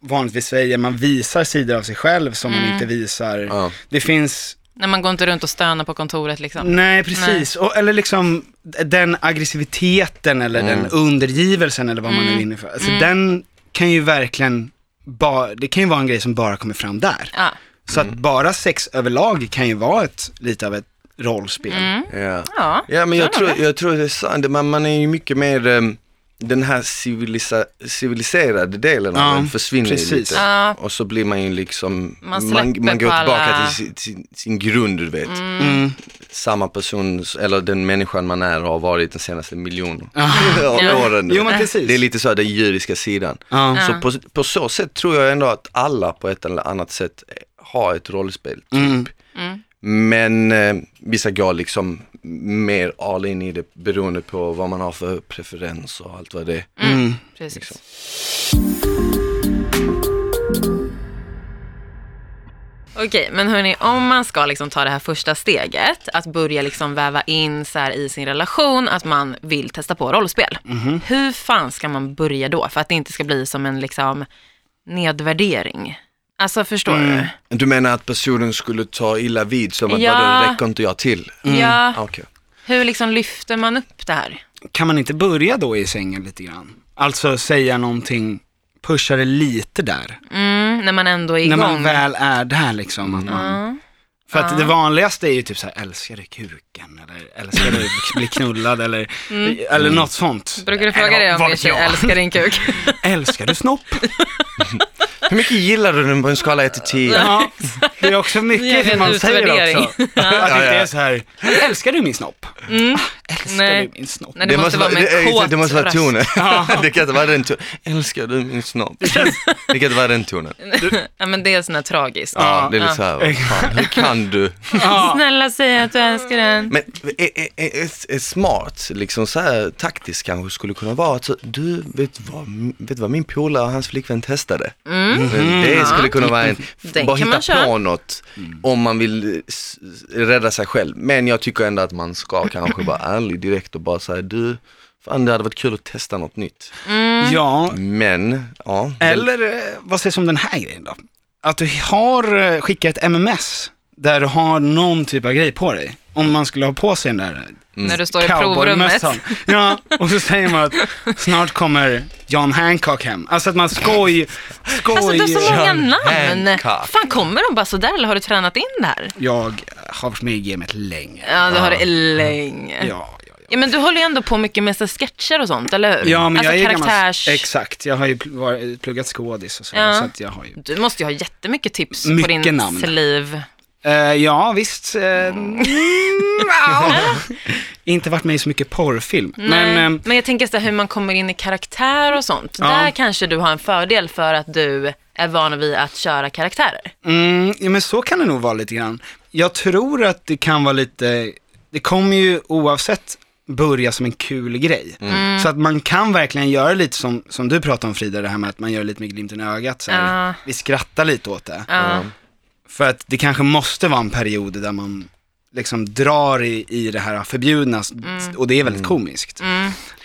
vanligtvis säger. Man visar sidor av sig själv som man inte visar.
Ja.
Det finns
När man går inte runt och stönar på kontoret liksom.
Nej, precis. Och, eller liksom d- den aggressiviteten eller
Mm.
den undergivelsen eller vad man nu är inne för. Alltså, Den kan ju verkligen, ba, det kan ju vara en grej som bara kommer fram där.
Ja.
Så
Mm.
att bara sex överlag kan ju vara ett, lite av ett rollspel.
Ja.
Ja,
Ja men jag tror, jag tror det är sant, man, man är ju mycket mer ehm, den här civilisa, civiliserade delen
Ja,
av en försvinner ju
precis.
lite
Ja.
och så blir man ju liksom,
Man
man,
släpper
man, går
på
tillbaka
alla- Mm.
till sin, sin, sin grund du vet.
Mm.
Samma person, eller den människan man är och har varit den senaste miljonen
Ja.
åren. du
Jo,
vet.
men precis.
Det är lite så, den juridiska sidan.
Ja.
Så på, på så sätt tror jag ändå att alla på ett eller annat sätt har ett rollspel. Typ.
Mm.
Men eh, vissa går liksom mer all in i det beroende på vad man har för preferens och allt vad det är.
Mm. precis. Okej, men hörni, om man ska liksom ta det här första steget, att börja liksom väva in så här i sin relation att man vill testa på rollspel. Hur fan ska man börja då för att det inte ska bli som en liksom nedvärdering? Alltså förstår du?
Du menar att personen skulle ta illa vid som att
Ja.
vadå, räcker inte jag till? Ah,
Ja,
Okej.
hur liksom lyfter man upp det här?
Kan man inte börja då i sängen lite grann? Alltså säga någonting, pusha det lite där.
Mm, när man ändå är igång.
När man väl är där liksom. Att man, för att det vanligaste är ju typ så här, älskar du kuken? Eller älskar du att bli knullad? Eller,
Mm.
eller något sånt.
Brukar du fråga det om
Vad
din
vet
tjej
jag?
älskar din kuk?
Älskar du snopp?
Hur mycket gillar du den på en skala 1 till 10?
Ja, det är också
Det är
mycket hur
en
man säger
utvärdering.
också. Att det inte är så här, älskar du min snopp? Ah, Älskar
Mm. Nej.
du min snopp?
Nej, det, måste vara med en
det,
kåt
det måste vara
röst.
tonen. det kan inte vara den tonen. Älskar du min snopp? Det kan inte vara den tonen.
Ja, men det är sån här tragiskt.
Ja, det är lite så här, vad fan, hur kan du?
Snälla säg att du älskar den.
Men eh, eh, eh, ett- ett smart, liksom så här taktiskt kanske skulle kunna vara att så, du, vet vad, vet vad min polare och hans flickvän testade?
Mm.
Det skulle kunna vara en,
Den
bara
kan man
hitta
köra.
på något om man vill eh, s- s- rädda sig själv. Men jag tycker ändå att man ska kanske vara ärlig direkt och bara säga du, fan det hade varit kul att testa något nytt.
Mm.
Ja,
Men, ja.
eller eh, vad sägs om den här grejen då? Att du har eh, skickat ett MMS där du har någon typ av grej på dig. Om man skulle ha på sig den där
När du står i provrummet.
Mm. cowboymössan. Ja, och så säger man att snart kommer John Hancock hem. Alltså att man skoj, skoj.
Alltså du har så många
John
namn.
Hancock.
Fan kommer de bara sådär eller har du tränat in det här?
Jag har varit med i gamet länge.
Ja, du har det länge. Ah. Ja.
Ja, ja, ja.
men du håller ju ändå på mycket med så här sketcher och sånt, eller hur?
ja men
alltså
jag är
karaktärs...
gammal, exakt. Jag har ju pl- varit- pluggat skådis och så,
Ja.
så att jag har ju
Du måste ju ha jättemycket tips på
Mycket
din
namn.
sliv.
Eh, ja, visst. eh, ja. Inte varit med i så mycket porrfilm. Men
Men,
eh,
men jag tänker så här, hur man kommer in i karaktär och sånt.
Ja.
Där kanske du har en fördel för att du är van vid att köra karaktärer.
mm, ja, men så kan det nog vara lite grann. Jag tror att det kan vara lite, det kommer ju oavsett börja som en kul grej.
Mm.
Mm.
Så att man kan verkligen göra lite som, som du pratade om Frida, det här med att man gör lite med glimten i ögat. Så här.
Ja.
Vi skrattar lite åt det.
Ja.
För att det kanske måste vara en period där man liksom drar i, i det här förbjudna s-
Mm.
och det är
Mm.
väldigt komiskt.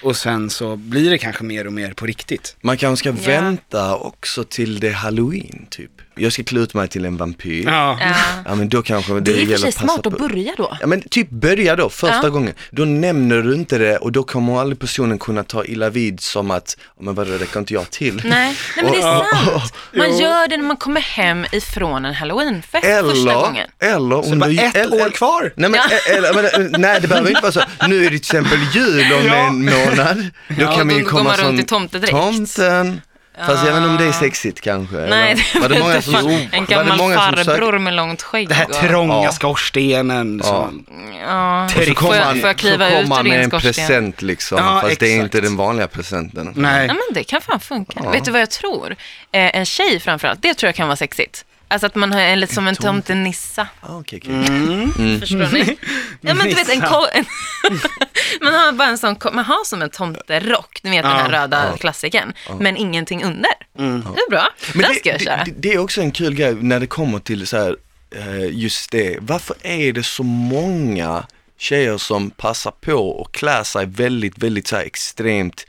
Och sen så blir det kanske mer och mer på riktigt.
Man kanske ska
Ja.
vänta också till det är halloween typ. Jag ska klä ut mig till en vampyr. Ja,
Ja.
men då kanske det,
Det är i och för
gäller
sig
att passa
smart att
på.
börja då.
Ja men typ börja då, första
Ja.
gången. Då nämner du inte det och då kommer aldrig personen kunna ta illa vid som att, "Ja, men vadå det räcker inte jag till.
Nej, nej men det
Och-
är sant. Man
Jo.
gör det när man kommer hem ifrån en halloweenfest första
Eller,
gången.
eller
Så det
om
bara
du...
ett
eller-
år kvar.
Nej, men, eh, eller, men, nej det behöver inte vara så. Nu är det till exempel jul om
Ja.
en månad. Då
Ja,
kan man
då
ju
går
komma
man runt
som
i tomtedräkt.
tomten. Fast jag vet inte om det är sexigt kanske.
Nej, det
eller? var det många
inte.
som, var
en
det
gammal
många som
farbror
sökte?
med långt skägg.
Det här trånga skorstenen. liksom. Som,
Mm.
Ja.
Får jag-
Får
kommer
jag,
han-
får jag kliva
så kommer
ut ur
han med
din
en
skorsten?
present liksom,
Ja,
fast det är
exakt.
inte den vanliga presenten.
nej.
Ja, men det kan fan funka. Vet du vad jag tror? Eh, en tjej framförallt, det tror jag kan vara sexigt. Alltså att man har en, lite som en tomtenissa.
Ah, okej,
Mm.
okej. Mm.
Förstår ni? Ja, men du vet, en ko- en man har bara en sån, ko- man har som en tomterock, ni vet den här
Ja.
röda klassikern, men ingenting under. Det är bra,
Mm. Men
den ska jag köra.
Det, det är också en kul grej när det kommer till så här, eh, just det, varför är det så många tjejer som passar på och klär sig väldigt, väldigt så här extremt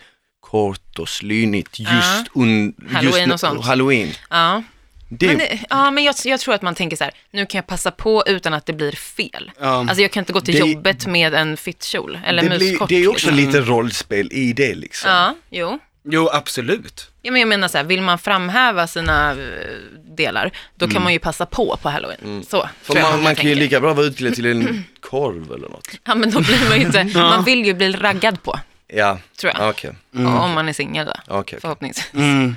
kort och slynigt just, un, just
Halloween
när-
och sånt.
Halloween.
Ja.
Det,
Men, det, ja, men jag, jag tror att man tänker så här, nu kan jag passa på utan att det blir fel. Alltså jag kan inte gå till
Det-
jobbet med en fittkjol eller
det, blir,
muskort.
det är också
liksom.
lite rollspel i det liksom.
Ja, jo.
Jo, absolut.
Ja, men jag menar så här, vill man framhäva sina eh, delar, då kan man ju passa på på halloween. Så.
Mm. För
tror jag
man,
jag
man kan ju
tänker.
lika bra vara utklädd till en korv eller något.
Ja, men då blir man ju inte, man vill ju bli raggad på,
Ja,
tror jag.
okej.
Om man är singel då,
Okej, okej.
förhoppningsvis.
Mm.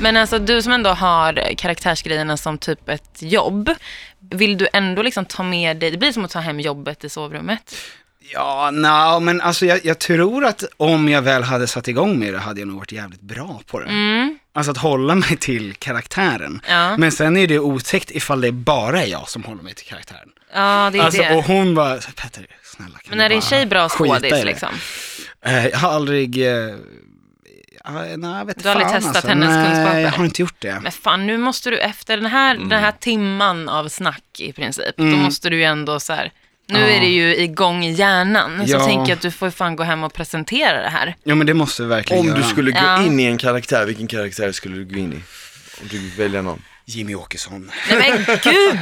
Men alltså du som ändå har karaktärsgrejerna som typ ett jobb, vill du ändå liksom ta med dig, det blir som att ta hem jobbet i sovrummet.
Ja, no, men alltså jag, jag tror att om jag väl hade satt igång med det hade jag nog varit jävligt bra på det. Alltså att hålla mig till karaktären.
Mm. Ja.
Men sen är det otäckt ifall det bara är jag som håller mig till karaktären.
Ja, det är
Alltså,
det.
och hon bara, så här, Petter, snälla kan
Men
du
är din
bara
tjej bra
skita i
skådis
det?"
liksom?
Eh, jag har aldrig, eh, eh, nej jag vet
Du har aldrig
fan,
testat
alltså.
hennes
nej,
kunskaper?
jag har inte gjort det.
Men fan, nu måste du efter den här, den
Mm.
här timman av snack i princip, då måste du ju ändå så här, nu är det ju igång i hjärnan, så
Ja.
tänker jag att du får ju fan gå hem och presentera det här.
Jo men det måste vi verkligen
Om
göra.
du skulle gå
Ja.
in i en karaktär, vilken karaktär skulle du gå in i? Om du fick välja någon.
Jimmy Åkesson.
Nej men gud!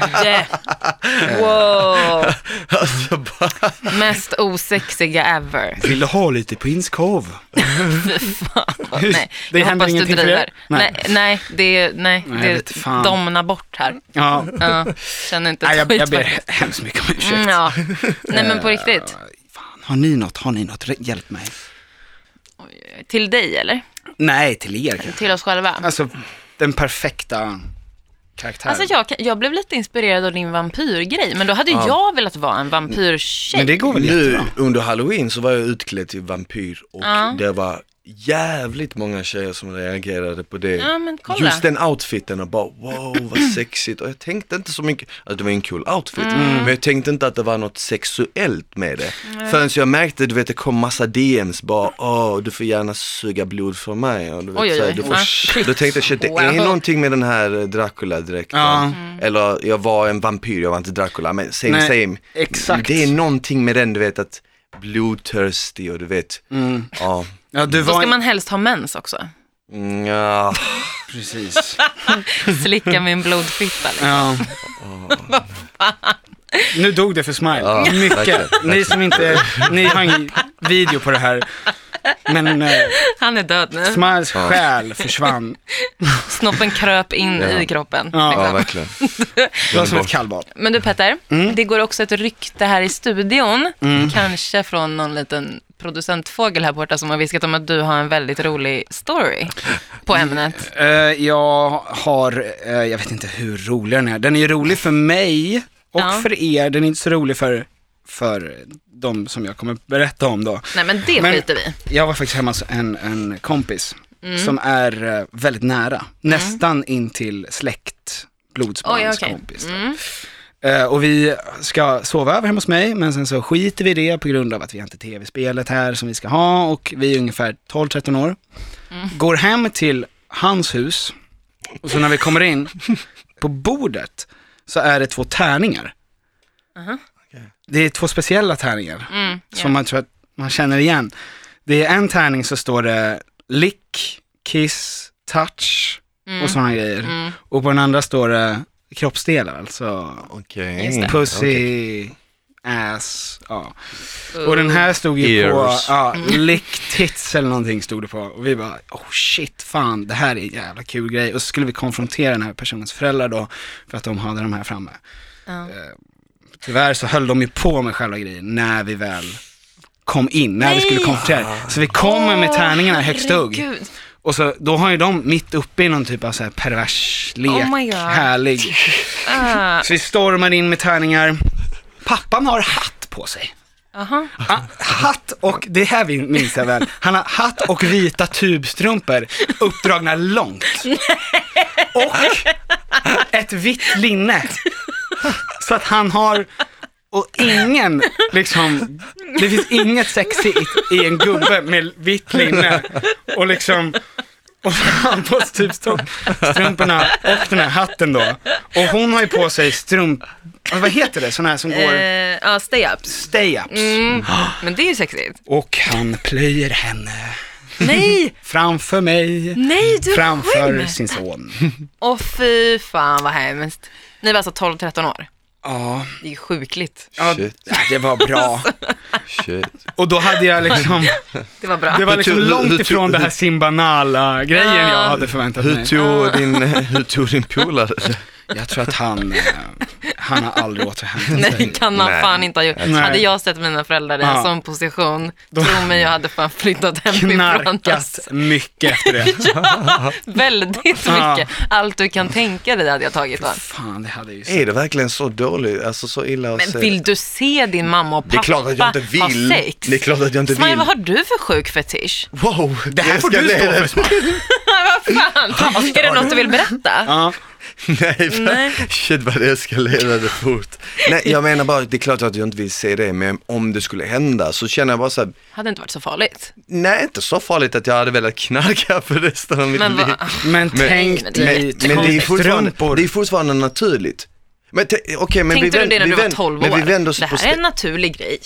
Wow!
Alltså bara...
Mest osexiga ever.
Vill du ha lite pinskov? Hur-
Nej,
det
jag
händer
hoppas du
ingenting för er?
driver. Nej,
Nej.
nej, det, nej,
Nej, jag vet
det
fan.
domnar bort här.
Ja,
Ja, känner inte
nej,
ett
jag, jag
skit
ber
faktiskt.
hemskt mycket om ursäkt.
Mm, ja. Nej men på riktigt.
Fan, har ni något? Har ni något? Re- Hjälp mig.
Till dig eller?
Nej, till er kanske.
Till oss själva?
Alltså, den perfekta karaktären.
Alltså jag, kan- jag blev lite inspirerad av din vampyrgrej, men då hade ju jag velat vara en vampyrtjej.
Men det går väl
Nu
jättebra?
under halloween så var jag utklädd till vampyr och
Ja.
det var jävligt många tjejer som reagerade på det.
Ja, men kolla.
Just den outfiten och bara wow vad sexigt och jag tänkte inte så mycket, att det var en kul outfit,
Mm.
men jag tänkte inte att det var något sexuellt med det. Förrän jag märkte, du vet det kom massa DMs bara åh du får gärna suga blod från mig. Och du vet,
Oj, oj,
så här,
oj.
Du
Ah,
får, då tänkte jag shit det är
Wow.
någonting med den här eh, Dracula-dräkten.
Ja.
Eller jag var en vampyr, jag var inte Dracula, men same
Nej,
same.
exakt.
Det är någonting med den du vet att blodtörstig och du vet, ja,
Ja, du
Då
var...
ska man helst ha mens också.
Mm, ja.
Precis.
Slicka min blodfitta. Liksom.
Ja. Nu dog det för Smile.
Ja, verkligen,
Mycket. Ni som inte, ni har ingen video på det här. Men eh,
Han är död nu.
Smiles själ försvann.
Snoppen kröp in
Ja.
i kroppen.
Ja,
Ja,
verkligen.
det var som ett kallbad.
Men du Petter,
Mm.
det går också ett rykte här i studion, kanske från någon liten producentfågel här borta som har viskat om att du har en väldigt rolig story på ämnet.
Eh, jag har, eh, jag vet inte hur rolig den är. Den är ju rolig för mig och
Ja.
för er. Den är inte så rolig för, för de som jag kommer berätta om då.
Nej men det
Men-
skiter vi i.
Jag var faktiskt hemma hos en, en kompis
Mm.
som är eh, väldigt nära, nästan in till släkt,
Oj,
blodsbandskompis.
okej. Mm.
då. Eh, och vi ska sova över hemma hos mig, men sen så skiter vi i det på grund av att vi har inte tv-spelet här som vi ska ha och vi är ungefär 12-13 år. Går hem till hans hus och så när vi kommer in på bordet så är det två tärningar. Det är två speciella tärningar
Mm,
som man tror att man känner igen. Det är en tärning så står det lick, kiss, touch
Mm.
och sådana grejer. Och på den andra står det kroppsdelar, alltså
Okej.
Just det.
pussy, ass, ja. Och den här stod ju på,
Ears.
ja, lick tits eller någonting stod det på. Och vi bara, oh shit, fan, det här är en jävla kul grej. Och så skulle vi konfrontera den här personens föräldrar då, för att de hade de här framme.
Ja.
Tyvärr så höll de ju på med själva grejen när vi väl kom in, när vi skulle konfrontera. Så vi kommer med tärningarna högst hugg.
Herregud.
Och så, då har ju de mitt uppe i någon typ av så här pervers lek,
Oh my God.
härlig.
Ah,
Så vi stormar in med tärningar. Pappan har hatt på sig.
aha.
Ah, hatt och, det här vi- minns jag väl, han har hatt och vita tubstrumpor uppdragna långt. Och ett vitt linne. Så att han har, och ingen, liksom, det finns inget sexigt i en gubbe med vitt linne och liksom, och han på sig tubstrumporna och den här hatten då. Och hon har ju på sig strump, vad heter det, sådana här som går,
Eh, ja, stay-ups.
stay-ups.
Mm. Men det är ju sexigt.
Och han plöjer henne
Nej,
framför mig,
nej du
framför
skämtar.
sin son.
Åh fy fan vad hemskt. Ni var alltså 12-13 år.
Ja,
Det är ju sjukligt.
ja
Shit,
det var bra.
shit.
Och då hade jag liksom,
Det var bra.
det var liksom
Hur- hur-
långt
hur-
ifrån det här Simbanala-grejen jag
Ah.
hade förväntat
Hur
mig.
tog din, hur tog din polare det?
Jag tror att han, eh, han har aldrig återhämtat sig.
Nej, kan han
Nej.
fan inte ha gjort.
tror-
Hade jag sett mina föräldrar i en
Ja.
sån position, tro mig, jag hade fan flyttat hemifrån.
Knarkat
Alltså.
mycket efter det.
Väldigt
Ja.
mycket. Allt du kan tänka dig hade jag tagit. Va?
Fan, det hade ju så.
Är det verkligen så dåligt, alltså så illa att
Men
se?
vill du se din mamma och pappa
det är klart att jag inte vill.
ha sex?
Det är klart att jag inte
Smaj,
vill.
vad har du för sjuk fetisch?
Wow,
Det här får du stå för. Smile.
vad fan? är det något du vill berätta?
Ja,
Nej, fan.
Nej.
shit vad det eskalerade fort. Nej, jag menar bara, det är klart att jag inte vill se det, men om det skulle hända så känner jag bara så här,
Hade inte varit så farligt.
nej inte så farligt att jag hade velat knarka för resten av mitt
Men
liv.
vad... ah,
men tänk
men det är-
dig
Men, men det, är fortfarande,
strumpor.
det är fortfarande naturligt. Men te- okej, men
Tänkte
vi
du det
vänd-
när
vi
du var
vänd-
12 år?
Men vi vänder oss
det
på Mm.
här är
ste-
en naturlig grej.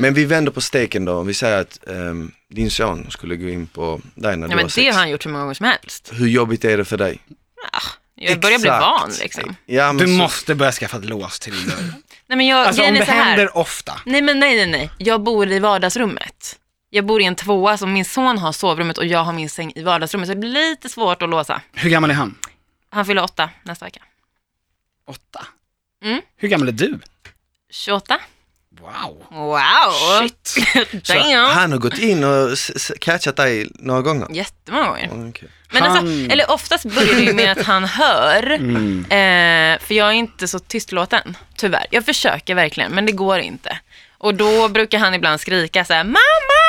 men vi vänder på steken då, om vi säger att ehm, din son skulle gå in på dig när
Ja,
du
men
var
det
sex.
har han gjort hur många gånger som helst.
Hur jobbigt är det för dig?
Ah, Jag börjar bli
Exakt.
van liksom.
Ja, men
Du
så-
måste börja skaffa ett lås till din dörr.
Nej, men jag,
Alltså om
grejen är
det
så här.
händer ofta.
Nej, men nej, nej, nej. Jag bor i vardagsrummet. Jag bor i en tvåa, så min son har sovrummet och jag har min säng i vardagsrummet. Så det blir lite svårt att låsa.
Hur gammal är han?
Han fyller åtta nästa vecka.
Åtta?
Mm.
Hur gammal är du?
28.
Wow.
Wow!
Shit.
Så
Damn.
han har gått in och s- s- catchat dig några gånger?
Jättemånga gånger.
Okej.
Men
Han-
alltså, eller oftast börjar det ju med att han hör. Eh, för jag är inte så tystlåten, tyvärr. Jag försöker verkligen, men det går inte. Och då brukar han ibland skrika så här, mamma,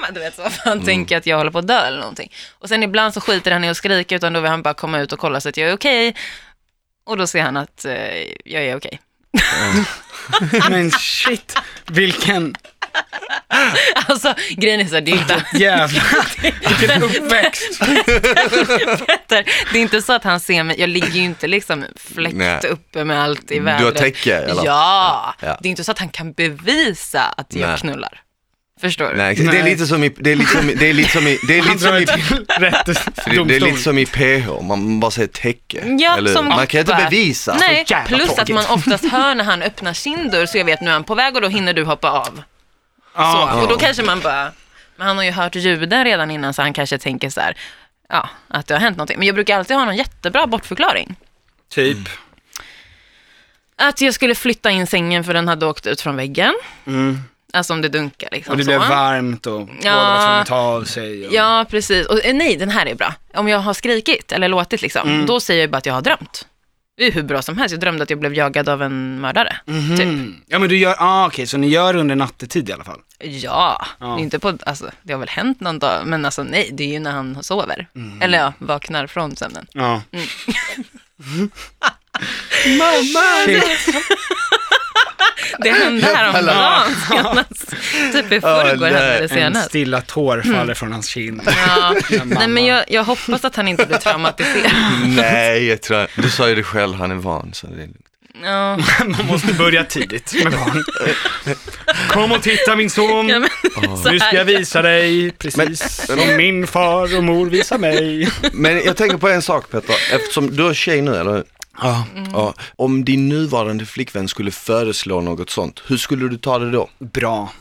mamma, du vet så. Han tänker att jag håller på att dö eller någonting. Och sen ibland så skiter han i att skrika, utan då vill han bara komma ut och kolla så att jag är okej. Och då ser han att eh, jag är okej.
Men shit, vilken
Alltså, grejen är så här, det är inte...
jävla, vilken uppväxt.
Petter, det är inte så att han ser mig, jag ligger ju inte liksom fläkt
Nej.
uppe med allt i vädret.
har täcke, eller?
Ja.
Ja.
det är inte så att han kan bevisa att jag
Nej.
knullar. Förstår du?
Nej, det är lite som i, det är lite som i, det är lite som i, det är
Han
lite
drar
som i,
ju till rätt
det är lite
domstol.
som i PH, man bara säger täcke.
Ja,
Eller hur?
som
man kan inte
gubbar.
bevisa.
Nej,
Så jävla
plus att
tråkigt.
man oftast hör när han öppnar sin dörr så jag vet nu är han på väg och då hinner du hoppa av.
Ja,
Så, och då kanske man bara, men han har ju hört ljuden redan innan så han kanske tänker så här, ja, att det har hänt någonting. Men jag brukar alltid ha någon jättebra bortförklaring.
typ.
Att jag skulle flytta in sängen för den hade åkt ut från väggen.
Mm.
Alltså om det dunkar liksom.
Och det
så.
blev varmt och båda var tvungna att ta av sig. Och...
Ja, precis. Och, eh, nej, den här är bra. Om jag har skrikit eller låtit, liksom,
Mm.
då säger jag bara att jag har drömt. Det är hur bra som helst. Jag drömde att jag blev jagad av en mördare. Typ.
Mm. Ja men du gör, ah, okej så ni gör under nattetid i alla fall?
Ja,
Ja.
Det är Inte på, alltså, det har väl hänt någon dag, men alltså, nej, det är ju när han sover.
Mhm.
Eller ja, vaknar från sömnen.
Ja.
Mm.
Mamma! Shit.
Det hände häromdagen, senast. Typ i förrgår
nej.
hände det
En
senast. Mm.
stilla tår faller från hans kind.
Ja. Nej,
mamma.
men jag, jag hoppas att han inte blir traumatiserad.
Nej, jag tror Du sa ju det själv, han är van. Så det är lugnt.
Ja.
Man måste börja tidigt med barn. Kom och titta min son.
Ja, men, så
Nu ska jag
här.
visa dig precis
Men-
som min far och mor visar mig.
Men jag tänker på en sak Petter, eftersom du är tjej nu, eller hur?
Ja.
Mm.
Ja, om din nuvarande flickvän skulle föreslå något sånt, hur skulle du ta det då?
Bra.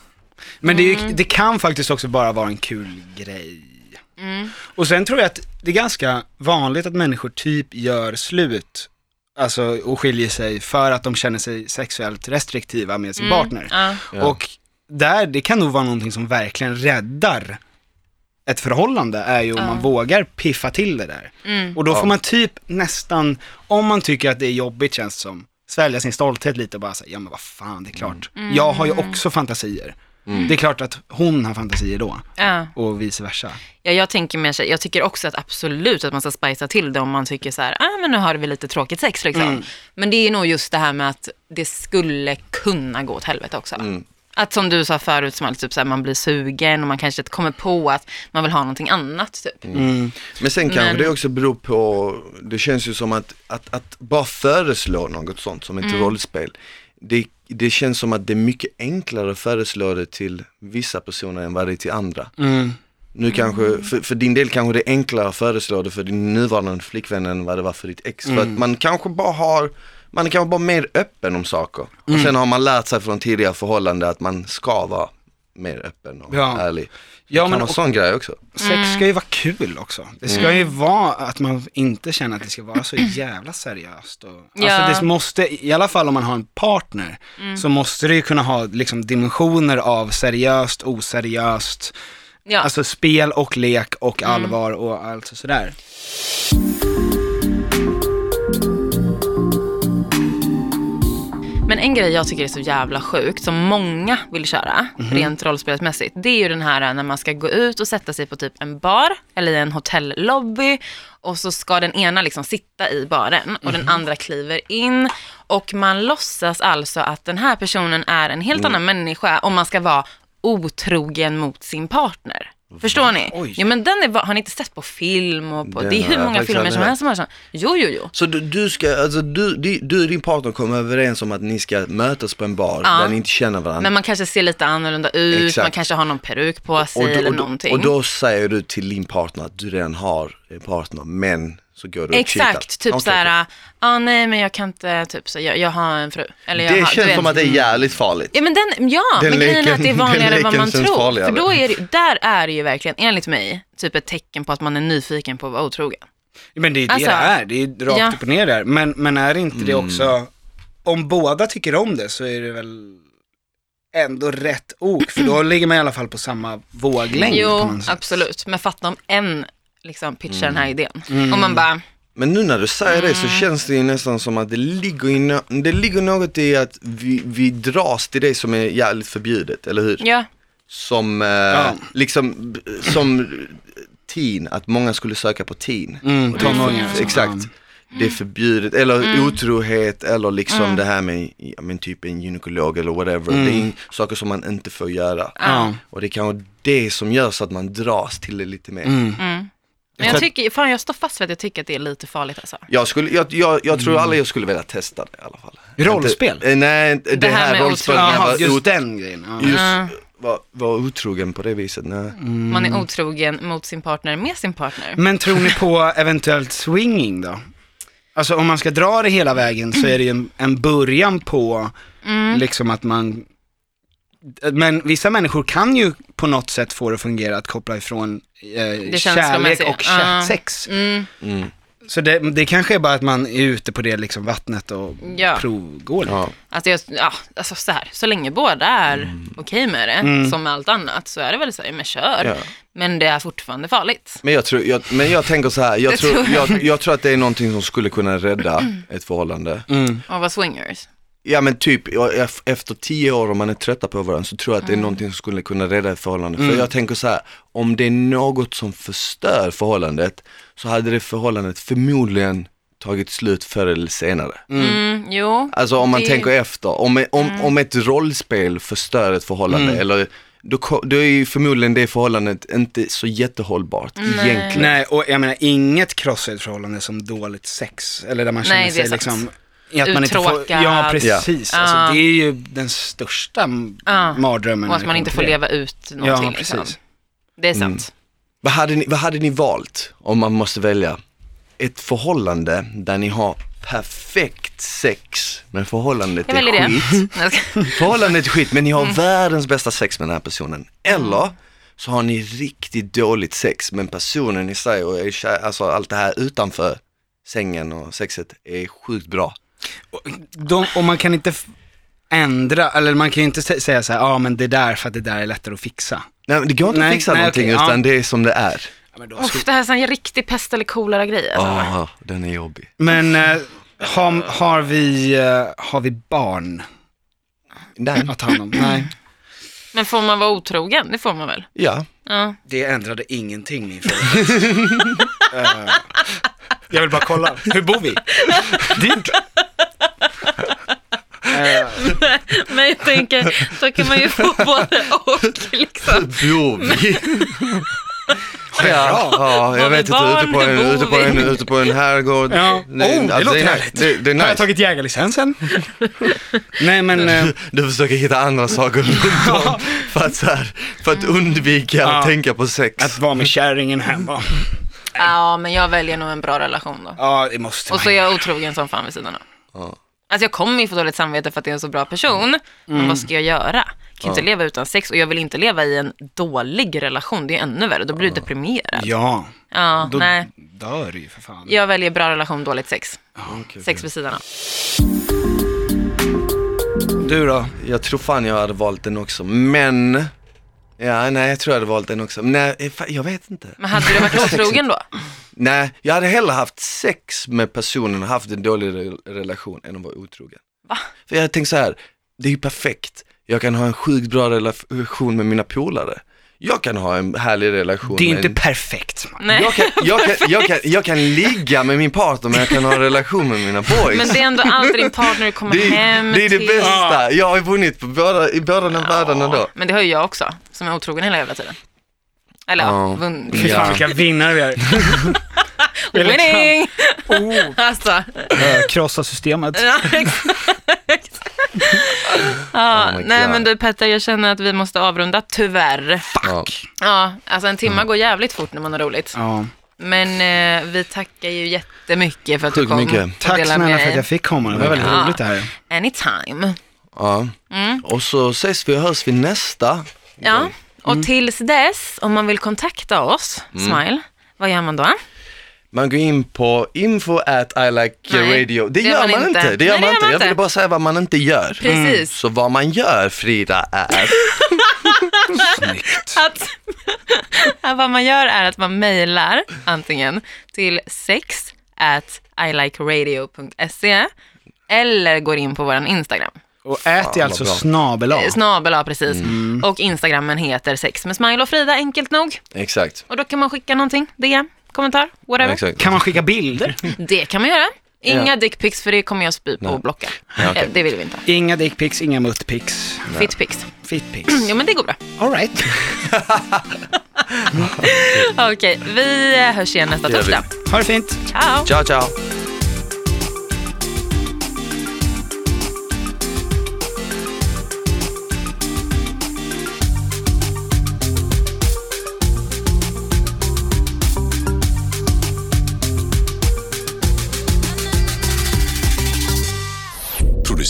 Men det, är ju, det kan faktiskt också bara vara en kul grej. Och sen tror jag att det är ganska vanligt att människor typ gör slut, alltså och skiljer sig för att de känner sig sexuellt restriktiva med sin partner.
Ja.
Ja.
Och där, det kan nog vara någonting som verkligen räddar ett förhållande, är ju om man vågar piffa till det där. Och då får man typ nästan, om man tycker att det är jobbigt känns det som, svälja sin stolthet lite och bara säga, ja men vad fan, det är klart. Jag har ju också fantasier. Det är klart att hon har fantasier då,
Ja.
och vice versa.
Ja, jag tänker mer så här, jag tycker också att absolut att man ska spicea till det om man tycker så här, ah, men nu har vi lite tråkigt sex liksom.
Mm.
Men det är nog just det här med att det skulle kunna gå åt helvete också.
Mm.
Att som du sa förut, som alltid, typ så här, man blir sugen och man kanske inte kommer på att man vill ha någonting annat. Typ.
Mm.
Men sen kanske
Men-
det också beror på, det känns ju som att, att, att bara föreslå något sånt som ett
Mm.
rollspel, det, det känns som att det är mycket enklare att föreslå det till vissa personer än vad det är till andra.
Mm.
Nu kanske, för, för din del kanske det är enklare att föreslå det för din nuvarande flickvän än vad det var för ditt ex.
Mm.
För att man kanske bara har, man är kanske bara mer öppen om saker.
Mm.
Och sen har man lärt sig från tidigare förhållanden att man ska vara mer öppen och
Ja.
ärlig. Det
Ja,
kan
men
vara
och-
sån grej också.
Mm.
Sex ska ju vara kul också. Det ska ju vara att man inte känner att det ska vara så jävla seriöst. Och,
Ja. Mm.
Alltså det måste, i alla fall om man har en partner, så måste det ju kunna ha liksom dimensioner av seriöst, oseriöst,
Ja. Mm.
alltså spel och lek och allvar och allt och sådär.
Men en grej jag tycker är så jävla sjukt, som många vill köra,
Mhm.
rent rollspelsmässigt, det är ju den här när man ska gå ut och sätta sig på typ en bar eller i en hotellobby och så ska den ena liksom sitta i baren och
Mhm.
den andra kliver in och man låtsas alltså att den här personen är en helt
Mm.
annan människa om man ska vara otrogen mot sin partner. Förstår ni?
Oj.
Ja, men den är, va- har ni inte sett på film? Och på,
Den
det är
har
hur
jag
många
faktiskt
filmer
aldrig
som
hört.
helst som har sånt. Jo, jo, jo.
Så du, du ska, alltså du, di- du och din partner kommer överens om att ni ska mötas på en bar
Ja.
där ni inte känner varandra.
Men man kanske ser lite annorlunda ut,
Exakt.
man kanske har någon peruk på sig
och, då,
eller
och, då,
någonting.
och då säger du till din partner att du redan har en partner men så går du och
Exakt,
cheatar.
typ
Okej, okej.
såhär, ah, nej men jag kan inte, typ så, jag, jag har en fru. Eller jag
Det
har, du
känns
vet.
som att det är jävligt farligt.
Ja men den, ja,
Den
men grejen är
leken-
att det är
den
vanligare än vad
leken
man
känns
tror.
farligare.
För då är det, där är det ju verkligen, enligt mig, typ ett tecken på att man är nyfiken på att vara otrogen.
Men det är ju
Alltså,
det det är, det är ju rakt
ja.
upp och ner där. Men, men är inte det också, om båda tycker om det så är det väl ändå rätt ok, för då ligger man i alla fall på samma våglängd på
Jo,
något sätt.
absolut. Men fatta om en liksom pitchar den här
Mm.
idén. Och man bara,
Men nu när du säger det
Mm.
så känns det ju nästan som att det ligger, i nå- det ligger något i att vi, vi dras till det som är jävligt förbjudet, eller hur?
ja,
Som, eh,
Ja.
liksom, b- som teen, att många skulle söka på teen.
Mm,
Och det är för-
tonåringar, alltså.
Exakt.
Ja.
liksom. Det är förbjudet, eller otrohet eller liksom det här med, ja, men typ en gynekolog eller whatever. Det är in- saker som man inte får göra.
Ja.
Och det är kanske det som gör så att man dras till det lite mer.
mm. men jag tycker, fan jag står fast vid att jag tycker att det är lite farligt alltså.
Jag, skulle, jag, jag, jag tror alla jag skulle vilja testa det Mm. i alla fall.
Rollspel?
Inte, eh, nej, inte- det,
här
här,
med
rollspel
otrohet.
när jag
Jaha,
var
just
ute.
den grejen. Ja.
Just, vara var otrogen på det viset, nej.
Man är otrogen mot sin partner med sin partner.
Men tror ni på eventuellt swinging då? Alltså om man ska dra det hela vägen så är det ju en, en början på liksom att man men vissa människor kan ju på något sätt få det att fungera att koppla ifrån eh, kärlek
känslomässiga.
och kä-
Ja.
sex.
Mm.
Så det, det kanske är bara att man är ute på det liksom vattnet och
Ja.
provgår liksom. lite.
Ja.
Alltså, jag, ja, alltså så här, så länge båda är okej med det, som med allt annat, så är det väl så här, men kör.
Ja.
Men det är fortfarande farligt.
Men jag, tror, jag, men jag tänker så här, jag
Det
tror,
tror jag.
jag, jag tror att det är någonting som skulle kunna rädda ett förhållande.
Och vara swingers.
Ja men typ, jag- ef- efter tio år om man är trötta på varandra så tror jag att det
Mm.
är någonting som skulle kunna rädda ett förhållande. För jag tänker så här, om det är något som förstör förhållandet så hade det förhållandet förmodligen tagit slut förr eller senare.
Mm, jo.
Alltså om man
Det- Mm.
tänker efter, om, om, om ett rollspel förstör ett förhållande eller då, ko- då är ju förmodligen det förhållandet inte så jättehållbart egentligen.
Nej, och jag menar inget crossfit förhållande som dåligt sex, eller där man känner
Nej, det är
sig
sant.
liksom i att man inte får,
Uttråkad.
ja precis,
Ja.
Alltså, det är ju den största m-
Ja.
mardrömmen.
Och
när
att
det
man
kommer
inte
till
får
det.
leva ut någonting.
Ja,
liksom.
precis.
Det är sant.
Vad hade, ni, vad hade ni valt om man måste välja? Ett förhållande där ni har perfekt sex, men förhållandet
Jag
är
väljer det.
skit.
Nej, jag ska-
Förhållandet är skit, men ni har världens bästa sex med den här personen. Eller så har ni riktigt dåligt sex, men personen i sig och är kär, alltså allt det här utanför sängen och sexet är sjukt bra.
De, och man kan inte f- ändra, eller man kan ju inte sä- säga så här, ja ah, men det där för att det där är lättare att fixa.
Nej, men det går inte
Nej,
att fixa
nej,
någonting
okej, ja.
utan det är som det är.
Ja, men, då
Uff, det här är sån riktig pest eller kolera grej. Alltså.
Ah, den är jobbig.
men eh, har, har, vi, eh, har vi barn
Nej,
att ta hand om? Nej,
Men får man vara otrogen? Det får man väl?
ja.
Ja.
det ändrade ingenting i frågan. Eh, Jag vill bara kolla, hur bor vi? Dyrt. Eh,
Men jag tänker, då kan man ju få både och liksom.
Jo, vi... Ja, ja,
Har
jag
vi
vet inte,
barn?
ute på
Hur
en,
bor
ute på
vi?
en, ute på en herrgård.
Ja.
Nej,
Oh, det
alltså,
låter
är nice.
härligt.
Det, det är
Har jag
nice.
tagit jägarlicensen? Nej men, eh,
Du försöker hitta andra saker runt om för att, så här, för att undvika
Ja.
att tänka på sex.
att vara med kärringen hemma.
Ja, men jag väljer nog en bra relation då.
Ja, det måste
Och så
man.
är jag otrogen som fan vid sidan av.
Ja.
Alltså jag kommer ju få dåligt samvete för att jag är en så bra person.
Mm.
Men vad ska jag göra? Jag kan inte leva utan sex och jag vill inte leva i en dålig relation. Det är ju ännu värre. Då blir du deprimerad.
Ja,
Ja,
då
nej.
dör du ju för fan.
Jag väljer bra relation, dåligt sex. Sex vid sidan av.
Du då?
Jag tror fan jag hade valt den också, men... Ja, nej, jag tror jag hade valt den också. Men Nej, fan, jag vet inte.
Men hade du varit otrogen då?
Nej, jag hade hellre haft sex med personen och haft en dålig re- relation än att vara otrogen.
Va?
För jag tänkte så här, det är ju perfekt. Jag kan ha en sjukt bra relation med mina polare. Jag kan ha en härlig relation
Det är ju
med
inte
en...
perfekt. man.
Nej.
jag, kan, jag, kan, jag, kan, jag kan ligga med min partner men jag kan ha en relation med mina boys.
Men det är ändå alltid din partner du kommer
det, är,
hem
det är det
till.
bästa. Jag har ju vunnit på båda, i båda de världarna då.
Men det har ju jag också, som är otrogen hela jävla tiden. Eller ja,
Ja.
vunn-
Fy fan
Ja.
vilka vinnare vi är. Vi är liksom-
winning!
Oh,
Alltså,
eh, krossa systemet.
ja, exakt. ja,
Oh my
nej
God.
men du Petter, jag känner att vi måste avrunda, tyvärr.
Ja.
Ja, alltså en timma går jävligt fort när man har roligt.
Ja.
Men eh, vi tackar ju jättemycket för att du
Sjukt
kom
mycket.
och
Tack
delade
snälla
med
för att
dig.
jag fick komma, det var väldigt
Ja.
roligt det här.
Anytime.
Ja.
Mm.
Och så ses vi och hörs vi nästa.
Ja, och tills dess, om man vill kontakta oss, Smile, vad gör man då?
Man går in på info at I like
Nej,
radio. Det gör man inte. Det gör
Nej,
man inte. Jag ville bara säga vad man inte gör. Mm.
Precis.
Så vad man gör Frida är
Snyggt.
att, att vad man gör är att man mejlar antingen till sex at ilikeradio.se eller går in på vår Instagram.
Och ät är
vad
alltså
bra.
snabel av.
Eh, Snabel ja, precis.
Mm.
Och Instagrammen heter sex med Smile och Frida, enkelt nog.
Exakt.
Och då kan man skicka någonting, DM, kommentar, whatever.
Exakt.
Kan man skicka bilder?
Det kan man göra. Inga
Ja.
dickpics för det kommer jag spy på och blocka.
Ja, okej.
Eh, Det vill vi inte.
Inga dickpics, inga muttpics,
Fitpics.
fitpics.
Mm, Ja men det går bra.
Alright.
Okej, vi eh, hörs igen nästa
Det gör vi.
torsdag.
Ha det fint.
Ciao!
Ciao ciao.